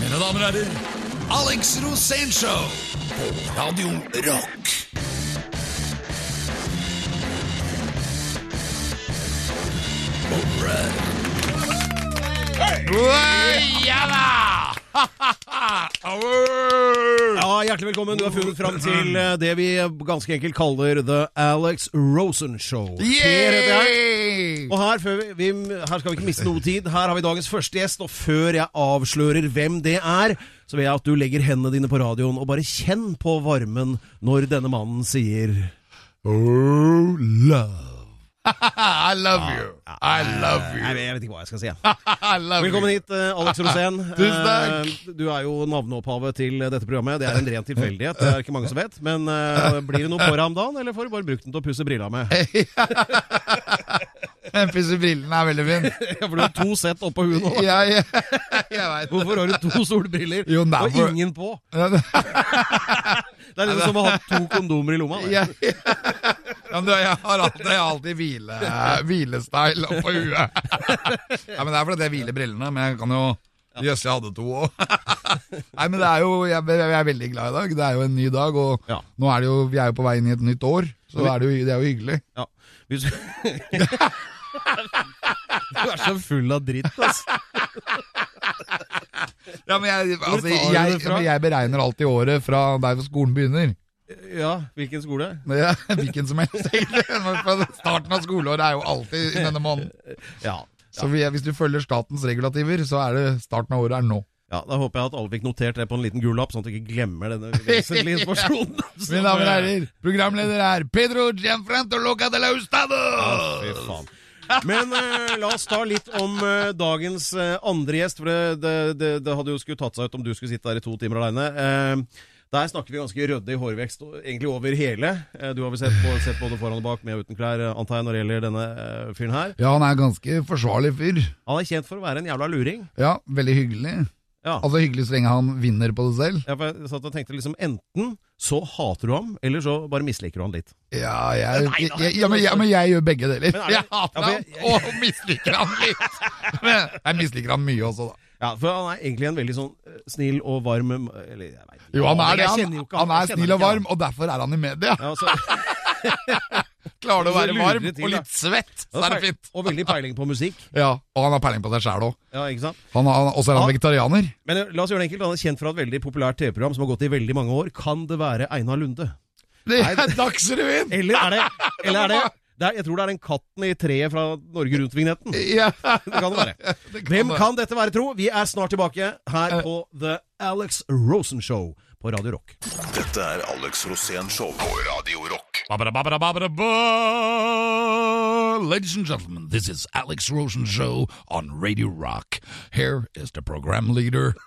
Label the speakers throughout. Speaker 1: Mine damer og herrer, Alex Rosénshow på Radio Rock. Ja da!
Speaker 2: Ja, Hjertelig velkommen. Du har funnet fram til eh, det vi ganske enkelt kaller The Alex Rosen Show. Per heter jeg. Og her, før vi, vi, her skal vi ikke miste noe tid. Her har vi dagens første gjest, og før jeg avslører hvem det er, så vil jeg at du legger hendene dine på radioen og bare kjenn på varmen når denne mannen sier
Speaker 1: Oh, love. I love you. I love
Speaker 2: Nei,
Speaker 1: you.
Speaker 2: Eh, jeg vet ikke hva jeg skal si. jeg.
Speaker 1: I love you.
Speaker 2: Velkommen hit, eh, Alex Rosén.
Speaker 1: Tusen takk.
Speaker 2: Eh, Du er jo navneopphavet til eh, dette programmet. Det er en ren tilfeldighet, det er ikke mange som vet. Men eh, blir det noe på deg om dagen, eller får du bare brukt den til å pusse brilla med?
Speaker 1: Den pusse brillene er veldig fin.
Speaker 2: Ja, For du har to sett oppå huet nå.
Speaker 1: Ja, ja. Jeg vet det.
Speaker 2: Hvorfor har du to solbriller
Speaker 1: Jo, nei,
Speaker 2: og
Speaker 1: for-
Speaker 2: ingen på?
Speaker 1: Ja, det-
Speaker 2: Det er liksom som å ha to kondomer i lomma. det.
Speaker 1: Jeg, ja, men du, jeg har alltid, jeg har alltid hvile, hvilestyle oppå huet. Ja, men Det er fordi jeg hviler brillene, men jeg kan jo Jøss, jeg hadde to òg. Nei, men det er jo, jeg, jeg er veldig glad i dag. Det er jo en ny dag, og
Speaker 2: Ja.
Speaker 1: nå er det jo, vi er jo på vei inn i et nytt år. Så det er, det jo, det er jo hyggelig.
Speaker 2: Ja. Hvis... du er så full av dritt, ass.
Speaker 1: Ja, men jeg,
Speaker 2: tar
Speaker 1: altså,
Speaker 2: du det
Speaker 1: jeg,
Speaker 2: fra?
Speaker 1: men jeg beregner alltid året fra der hvor skolen begynner.
Speaker 2: Ja, hvilken skole?
Speaker 1: Men jeg- Hvilken som helst, egentlig. Men for Starten av skoleåret er jo alltid i denne måneden.
Speaker 2: Ja.
Speaker 1: Så vi- hvis du følger statens regulativer, så er det starten av året er nå.
Speaker 2: ja, Da håper jeg at alle fikk notert det på en liten gul lapp, sånn at du ikke glemmer denne vesentlige informasjonen.
Speaker 1: Mine damer og herrer, programleder er Pedro Gianfranto Loca de la
Speaker 2: Fy
Speaker 1: Hustado!
Speaker 2: faen. Men eh, la oss ta litt om eh, dagens eh, andre gjest, for det, det, det, det hadde jo skulle tatt seg ut om du skulle sitte der i to timer aleine. der snakker vi ganske ryddig hårvekst, og egentlig over hele. Eh, du har vel sett, både- sett både foran og bak, med og uten klær, eh, antar jeg, når det gjelder denne eh, fyren her.
Speaker 1: Ja, han er ganske forsvarlig fyr.
Speaker 2: Han er kjent for å være en jævla luring.
Speaker 1: Ja, veldig hyggelig.
Speaker 2: Ja.
Speaker 1: Altså hyggelig så lenge han vinner på det selv.
Speaker 2: Ja, for jeg satt og tenkte liksom Enten så hater du ham, eller så bare misliker du ham litt.
Speaker 1: Ja, jeg,
Speaker 2: Nei, nei,
Speaker 1: jeg, ja, men, ja, men jeg gjør begge deler.
Speaker 2: Men er det-
Speaker 1: Jeg hater
Speaker 2: Ja, for
Speaker 1: han og misliker han litt. Men jeg misliker han mye også, da.
Speaker 2: Ja, For han er egentlig en veldig sånn eh, snill og varm eller, jeg vet, ikke.
Speaker 1: Jo, han er det.
Speaker 2: Jeg
Speaker 1: Han,
Speaker 2: kjenner jo ikke
Speaker 1: han
Speaker 2: Jeg
Speaker 1: er
Speaker 2: kjenner
Speaker 1: snill og
Speaker 2: ikke han.
Speaker 1: varm, og derfor er han i media.
Speaker 2: Ja, altså, så,
Speaker 1: Klarer du å
Speaker 2: Så
Speaker 1: være
Speaker 2: lurer
Speaker 1: varm
Speaker 2: det til,
Speaker 1: og
Speaker 2: da.
Speaker 1: litt svett, så er det fint.
Speaker 2: Og veldig peiling på musikk.
Speaker 1: Ja, Og han har peiling på seg sjæl òg.
Speaker 2: Ja, ikke sant?
Speaker 1: Og så er
Speaker 2: Ja.
Speaker 1: han vegetarianer.
Speaker 2: Men eh, la oss gjøre det enkelt. Han er kjent fra et veldig populært TV-program som har gått i veldig mange år. Kan det være Einar Lunde?
Speaker 1: Det
Speaker 2: Nei,
Speaker 1: er Dagsrevyen!
Speaker 2: Eller er det, eller er det, det er, Jeg tror det er den katten i treet fra Norge Rundt-vignetten.
Speaker 1: Ja.
Speaker 2: Det kan det være.
Speaker 1: Det kan Eh.
Speaker 2: Hvem
Speaker 1: det.
Speaker 2: kan dette være, tro? Vi er snart tilbake her på The Alex Rosen Show på Radio Rock.
Speaker 3: Dette er Alex Rosén Show på Radio Rock.
Speaker 1: Babada, babada, babada, ba. Ladies and gentlemen, this is Alex Rosen Show on Radio Rock. Here is the program leader.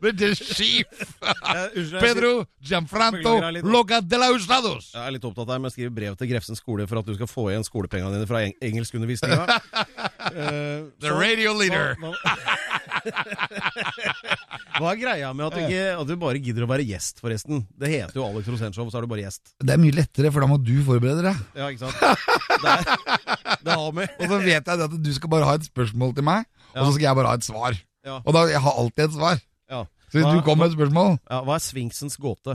Speaker 1: This is Chief Pedro Gianfranto
Speaker 2: Beklager, jeg er litt-
Speaker 1: Loca de la Usados.
Speaker 2: Jeg er litt opptatt av men jeg skriver brev til Grefsen skole for at du skal få igjen skolepengene dine fra eng- engelskundervisninga. Eh,
Speaker 1: The radio leader.
Speaker 2: Hva, hva, hva er greia med at du, ikke, at du bare gidder å være gjest, forresten? Det heter jo Alex Rosenshov, så er du bare gjest.
Speaker 1: Det er mye lettere, for da må du forberede deg.
Speaker 2: Ja, ikke sant? Det, er, det har med
Speaker 1: Og så vet jeg det at du skal bare ha et spørsmål til meg, og så skal jeg bare ha et svar.
Speaker 2: Ja.
Speaker 1: Og da, jeg har alltid et svar.
Speaker 2: ja.
Speaker 1: Så hvis
Speaker 2: Hva-
Speaker 1: du kommer med et spørsmål,
Speaker 2: ja, Hva er Sfinksens gåte?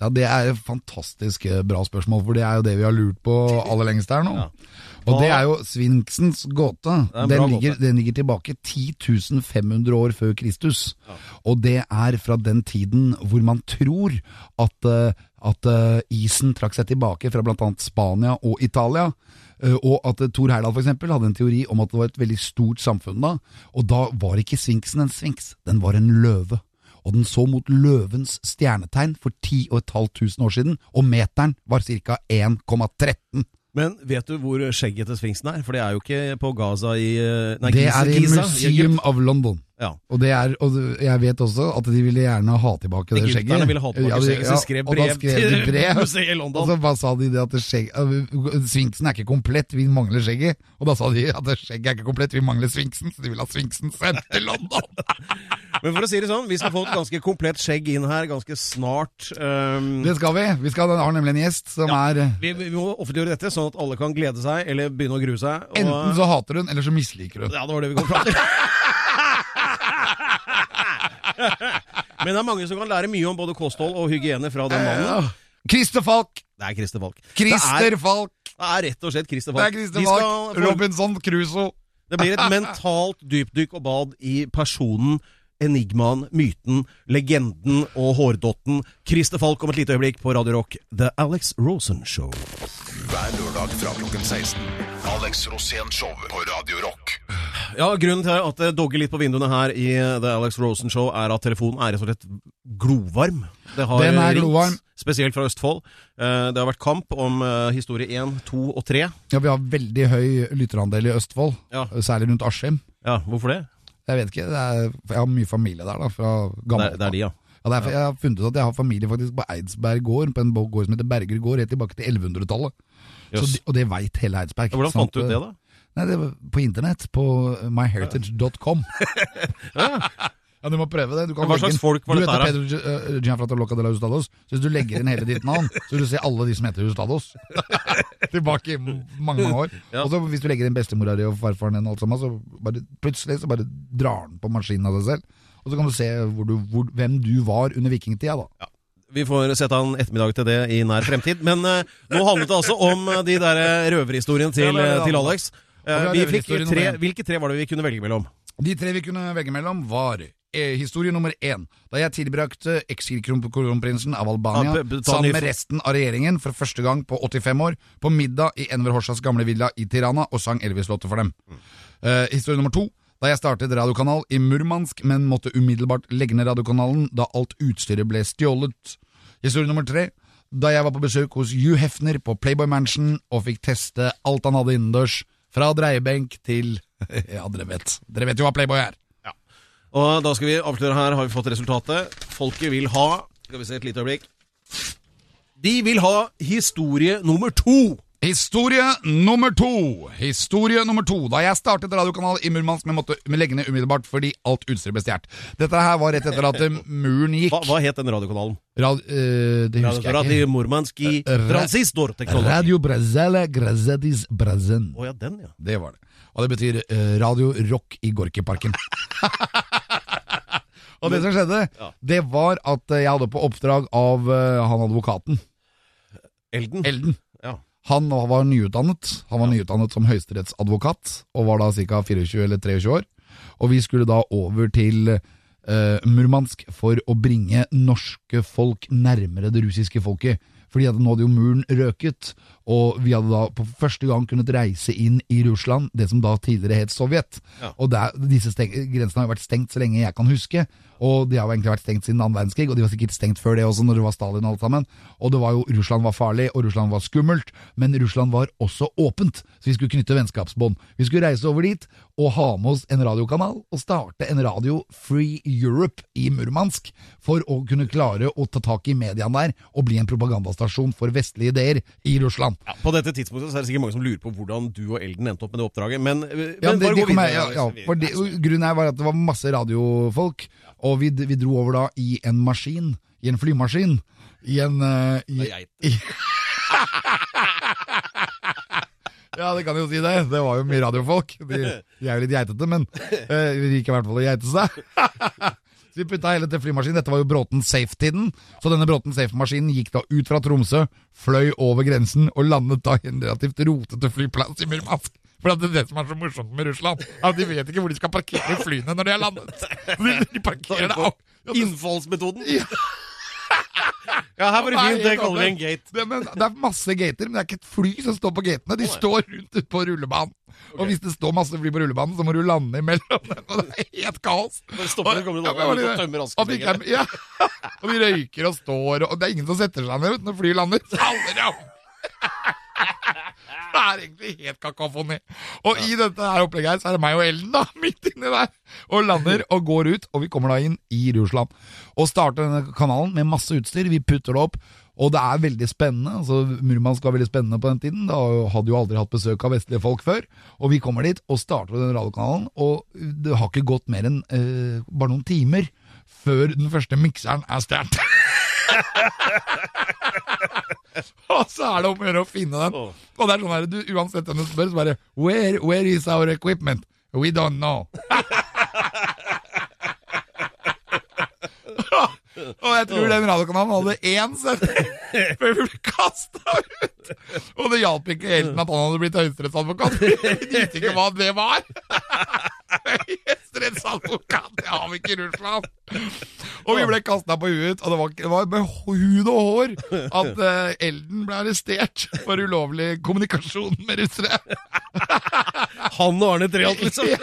Speaker 1: Ja, Det er et fantastisk eh, bra spørsmål, for det er jo det vi har lurt på aller lengst her nå.
Speaker 2: Ja.
Speaker 1: Og det er jo Sfinksens gåte.
Speaker 2: er en
Speaker 1: Den
Speaker 2: bra
Speaker 1: ligger,
Speaker 2: gåte.
Speaker 1: den ligger tilbake 10.500 år før Kristus. Og det er fra den tiden hvor man tror at, eh, at eh, isen trakk seg tilbake fra bl.a. Spania og Italia. Eh, Og at eh, Thor Heyerdahl for eksempel hadde en teori om at det var et veldig stort samfunn da. Og da var ikke sfinksen en sfinks, den var en løve og den så mot løvens stjernetegn for 10.500 år siden, og meteren var ca. 1,13.
Speaker 2: Men vet du hvor skjegget til sfinksen er? For det er jo ikke på Gaza i eh, Nei,
Speaker 1: Det
Speaker 2: Giza-
Speaker 1: er i
Speaker 2: Giza,
Speaker 1: Museum
Speaker 2: Egypt.
Speaker 1: of London.
Speaker 2: Ja.
Speaker 1: Og, det er, og jeg vet også at de ville gjerne ha tilbake det skjegget.
Speaker 2: Egypterne ville ha tilbake
Speaker 1: Ja, de-
Speaker 2: skjegget, så
Speaker 1: ja,
Speaker 2: de skrev
Speaker 1: og da
Speaker 2: brev,
Speaker 1: skrev de brev.
Speaker 2: til museet i London.
Speaker 1: Og så hva sa de det at det skjegg, øh, sfinksen er ikke komplett, vi mangler skjegget. Og da sa de at det skjegget er ikke komplett, vi mangler sfinksen, så de vil ha sfinksen sendt til London.
Speaker 2: Men for å si det sånn, vi skal få et ganske komplett skjegg inn her ganske snart. ehm,
Speaker 1: Det skal vi. Vi skal, har nemlig en gjest som
Speaker 2: Ja.
Speaker 1: er
Speaker 2: vi, vi må offentliggjøre dette, sånn at alle kan glede seg eller begynne å grue seg. og-
Speaker 1: Enten så hater hun, eller så misliker hun.
Speaker 2: Ja, det var det vi kom fram til. Men det er mange som kan lære mye om både kosthold og hygiene fra den mannen.
Speaker 1: Ja. Christer Falk!
Speaker 2: Det er Christer Falk. Det, er,
Speaker 1: Christer Falk!
Speaker 2: det er rett og slett Christer
Speaker 1: Det
Speaker 2: Falk.
Speaker 1: er Christer
Speaker 2: Vi
Speaker 1: Falk!
Speaker 2: skal-
Speaker 1: Robinson Crusoe!
Speaker 2: Det blir et mentalt dypdykk og bad i personen, enigmaen, myten, legenden og hårdotten. Christer Falk om et lite øyeblikk på Radio Rock, The Alex Rosen Show.
Speaker 3: Hver lørdag fra klokken 16. Alex Rosén Show på Radio Rock.
Speaker 2: Ja, Grunnen til at det dogger litt på vinduene her i eh, The Alex Rosen Show, er at telefonen er rett og slett glovarm. Det har
Speaker 1: Den er
Speaker 2: ringt,
Speaker 1: glovarm.
Speaker 2: Spesielt fra Østfold. Eh, Det har vært kamp om eh, historie 1, 2 og 3.
Speaker 1: Ja, vi har veldig høy lytterandel i Østfold,
Speaker 2: Ja.
Speaker 1: særlig rundt Askim.
Speaker 2: Ja, hvorfor det?
Speaker 1: Jeg vet ikke, det er, for jeg har mye familie der da, fra
Speaker 2: Det
Speaker 1: gammelt.
Speaker 2: er, det er de, ja.
Speaker 1: Ja, det er, for jeg har funnet ut at jeg har familie faktisk på Eidsberg gård, på en bo- gård som heter Berger gård, helt tilbake til 1100-tallet. Så
Speaker 2: Jøss.
Speaker 1: de- Og det veit hele Eidsberg.
Speaker 2: Hvordan
Speaker 1: sånn
Speaker 2: fant du
Speaker 1: at-
Speaker 2: ut det, da?
Speaker 1: Nei, det var På internett, på myheritage.com. Ja, Du må prøve det. Du kan
Speaker 2: Hva
Speaker 1: legge
Speaker 2: slags
Speaker 1: inn-
Speaker 2: folk var
Speaker 1: du
Speaker 2: dette her,
Speaker 1: heter Pedro Gi- eh, Gianfratta Loca de la Hustados. Så hvis du legger inn hele ditt navn, så vil du se alle de som heter Hustados. Tilbake i m- mange mange år.
Speaker 2: Ja.
Speaker 1: Og så hvis du legger inn bestemora di og farfaren din, og alt sammen, så bare, plutselig så bare drar den på maskinen av seg selv. Og så kan du se hvor du, hvor, hvem du var under vikingtida, da.
Speaker 2: Vi får sette av en ettermiddag til det i nær fremtid. Men eh, nå handlet det altså om eh, de der eh, røverhistoriene til,
Speaker 1: Ja, det er det
Speaker 2: eh,
Speaker 1: handlet
Speaker 2: til
Speaker 1: om.
Speaker 2: Alex. Eh,
Speaker 1: Ja,
Speaker 2: vi
Speaker 1: det er
Speaker 2: fikk
Speaker 1: røverhistorien
Speaker 2: tre,
Speaker 1: nummer én.
Speaker 2: hvilke tre var det vi kunne velge mellom?
Speaker 1: De tre vi kunne velge mellom var eh, Historie nummer én. Da jeg tilbrakte eksilkronprinsen av Albania
Speaker 2: Ja, be- be- ta
Speaker 1: sammen
Speaker 2: ny-
Speaker 1: med resten av regjeringen for første gang på 85 år på middag i Enver Horsas gamle villa i Tirana og sang Elvis-låter for dem. Eh, historie nummer to. Da jeg startet radiokanal i Murmansk, men måtte umiddelbart legge ned radiokanalen da alt utstyret ble stjålet. Historie nummer tre. Da jeg var på besøk hos Hugh Hefner på Playboy Mansion og fikk teste alt han hadde innendørs, fra dreiebenk til Ja, dere vet. Dere vet jo hva Playboy er.
Speaker 2: Og da skal vi avsløre her, har vi fått resultatet. Folket vil ha Skal vi se et lite øyeblikk. De vil ha historie nummer to.
Speaker 1: Historie nummer to. Historie nummer to. Da jeg startet radiokanal i Murmansk, men måtte um, legge ned umiddelbart fordi alt utstyret ble stjålet. Dette her var rett etter at eh, muren gikk.
Speaker 2: Hva, hva het den radiokanalen?
Speaker 1: Rad, eh, det husker jeg ikke.
Speaker 2: Radio Murmanski
Speaker 1: ra-
Speaker 2: Transistor Technology.
Speaker 1: Radio Brazele Grazedis Brazen.
Speaker 2: Å ja, den, ja.
Speaker 1: Det var det. Og det betyr eh, Radio Rock i Gorkiparken. Og det som skjedde,
Speaker 2: Ja.
Speaker 1: det var at eh, jeg hadde på oppdrag av eh, han advokaten,
Speaker 2: Elden.
Speaker 1: Elden.
Speaker 2: Ja.
Speaker 1: Han var nyutdannet. Han var nyutdannet som høyesterettsadvokat, og var da ca. 24 eller 23 år. Og vi skulle da over til eh, Murmansk for å bringe norske folk nærmere det russiske folket. Fordi at nå hadde jo muren røket, og vi hadde da på første gang kunnet reise inn i Russland, det som da tidligere het Sovjet.
Speaker 2: Ja.
Speaker 1: Og der, disse steng, grensene har jo vært stengt så lenge jeg kan huske, og de har jo egentlig vært stengt siden annen verdenskrig, og de var sikkert stengt før det også, når det var Stalin og alt sammen. Og det var jo Russland var farlig, og Russland var skummelt, men Russland var også åpent, så vi skulle knytte vennskapsbånd. Vi skulle reise over dit og ha med oss en radiokanal og starte en radio Free Europe i Murmansk for å kunne klare å ta tak i mediene der og bli en propagandastasjon for vestlige ideer i Russland.
Speaker 2: Ja, på dette tidspunktet så er det sikkert mange som lurer på hvordan du og Elden endte opp med det oppdraget, men, eh, men
Speaker 1: Ja, men det,
Speaker 2: bare
Speaker 1: det
Speaker 2: gå
Speaker 1: kom
Speaker 2: videre.
Speaker 1: jeg, ja, ja,
Speaker 2: Vi-
Speaker 1: for det, grunnen her var at det var masse radiofolk, og vi, vi dro over da i en maskin, i en flymaskin, i en... eh, i,
Speaker 2: Det er geit.
Speaker 1: ja, det kan jeg jo si det. Det var jo mye radiofolk. De, de er jo litt geitete, men eh, de liker i hvert fall å geite seg. Så vi putta hele til flymaskinen. Dette var jo Bråten Safe-tiden. Så denne Bråten Safe-maskinen gikk da ut fra Tromsø, fløy over grensen og landet da i en relativt rotete flyplass i Murmansk. For at det er det som er så morsomt med Russland. At de vet ikke hvor de skal parkere flyene når de har landet. De parkerer det opp. Ja, det-
Speaker 2: Innfallsmetoden. Ja, her var det
Speaker 1: Nei,
Speaker 2: fint. Det
Speaker 1: helt
Speaker 2: kaller vi en
Speaker 1: åpent.
Speaker 2: gate.
Speaker 1: Det, men, det er masse gater, men det er ikke et fly som står på gatene. De står rundt ute på rullebanen. Og hvis det står masse fly på rullebanen, så må du lande imellom dem. Og det er helt kaos.
Speaker 2: Bare stopper, så kommer det
Speaker 1: Ja, men
Speaker 2: noen og
Speaker 1: det-
Speaker 2: tømmer
Speaker 1: og de
Speaker 2: askebegeret.
Speaker 1: kan- ja. Og de røyker og står, og det er ingen som setter seg ned vet du, når flyet lander. Så Alle de om. Det er egentlig helt kakofoni. Og i dette her opplegget her, så er det meg og Ellen da, midt inni der, og lander og går ut, og vi kommer da inn i Russland. Og starter denne kanalen med masse utstyr, vi putter det opp, og det er veldig spennende, altså Murmansk var veldig spennende på den tiden, da hadde jo aldri hatt besøk av vestlige folk før, og vi kommer dit og starter den radiokanalen, og det har ikke gått mer enn eh, bare noen timer før den første mikseren er stjålet. og så er det om å gjøre å finne den.
Speaker 2: Åh.
Speaker 1: Og det er sånn her, du, uansett hvem du spør, så bare where, where is our equipment? We don't know. Og jeg tror den radiokanalen hadde én sending før vi ble kasta ut! Og det hjalp ikke helt med at han hadde blitt høyesterettsadvokat. Vi visste ikke hva det var! Høyesterettsadvokat, det har vi ikke i Russland! Og vi ble kasta på huet, og det var, det var med hud og hår at eh, Elden ble arrestert for ulovlig kommunikasjon med russere.
Speaker 2: Han og Arne Treholt, liksom.
Speaker 1: Ja,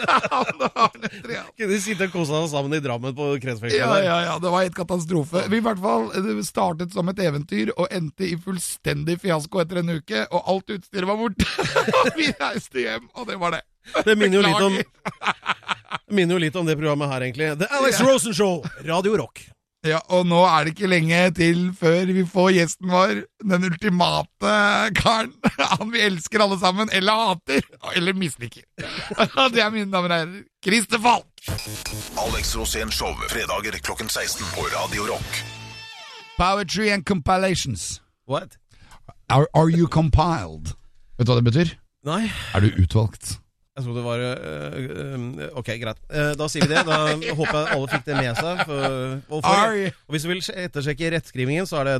Speaker 1: nå har det tre.
Speaker 2: Kunne de sitte og kose seg sammen i Drammen på kretsfengselet?
Speaker 1: Ja,
Speaker 2: der?
Speaker 1: ja, ja, det var helt katastrofe. Vi i hvert fall eh, det startet som et eventyr og endte i fullstendig fiasko etter en uke, og alt utstyret var borte. Og vi reiste hjem, og det var det.
Speaker 2: Det minner jo litt om
Speaker 1: Beklager.
Speaker 2: det minner jo litt om det programmet her, egentlig. The Alex Rosen Show, Radio Rock.
Speaker 1: Ja, og nå er det ikke lenge til før vi får gjesten vår, den ultimate karen. Han vi elsker alle sammen, eller hater, eller misliker. Det er mine damer og herrer. Christer Falk!
Speaker 3: Alex Rosén Show, fredager klokken 16 på Radio Rock.
Speaker 1: Poetry and compilations.
Speaker 2: What?
Speaker 1: Are, are you compiled? Vet du hva det betyr?
Speaker 2: Nei,
Speaker 1: Er du utvalgt?
Speaker 2: jeg trodde det var øh, øh, Ok, greit. Eh, da sier vi det. Da håper jeg alle fikk det med seg. For, og, for,
Speaker 1: Are-
Speaker 2: og hvis du vil ettersjekke rettskrivingen, så er det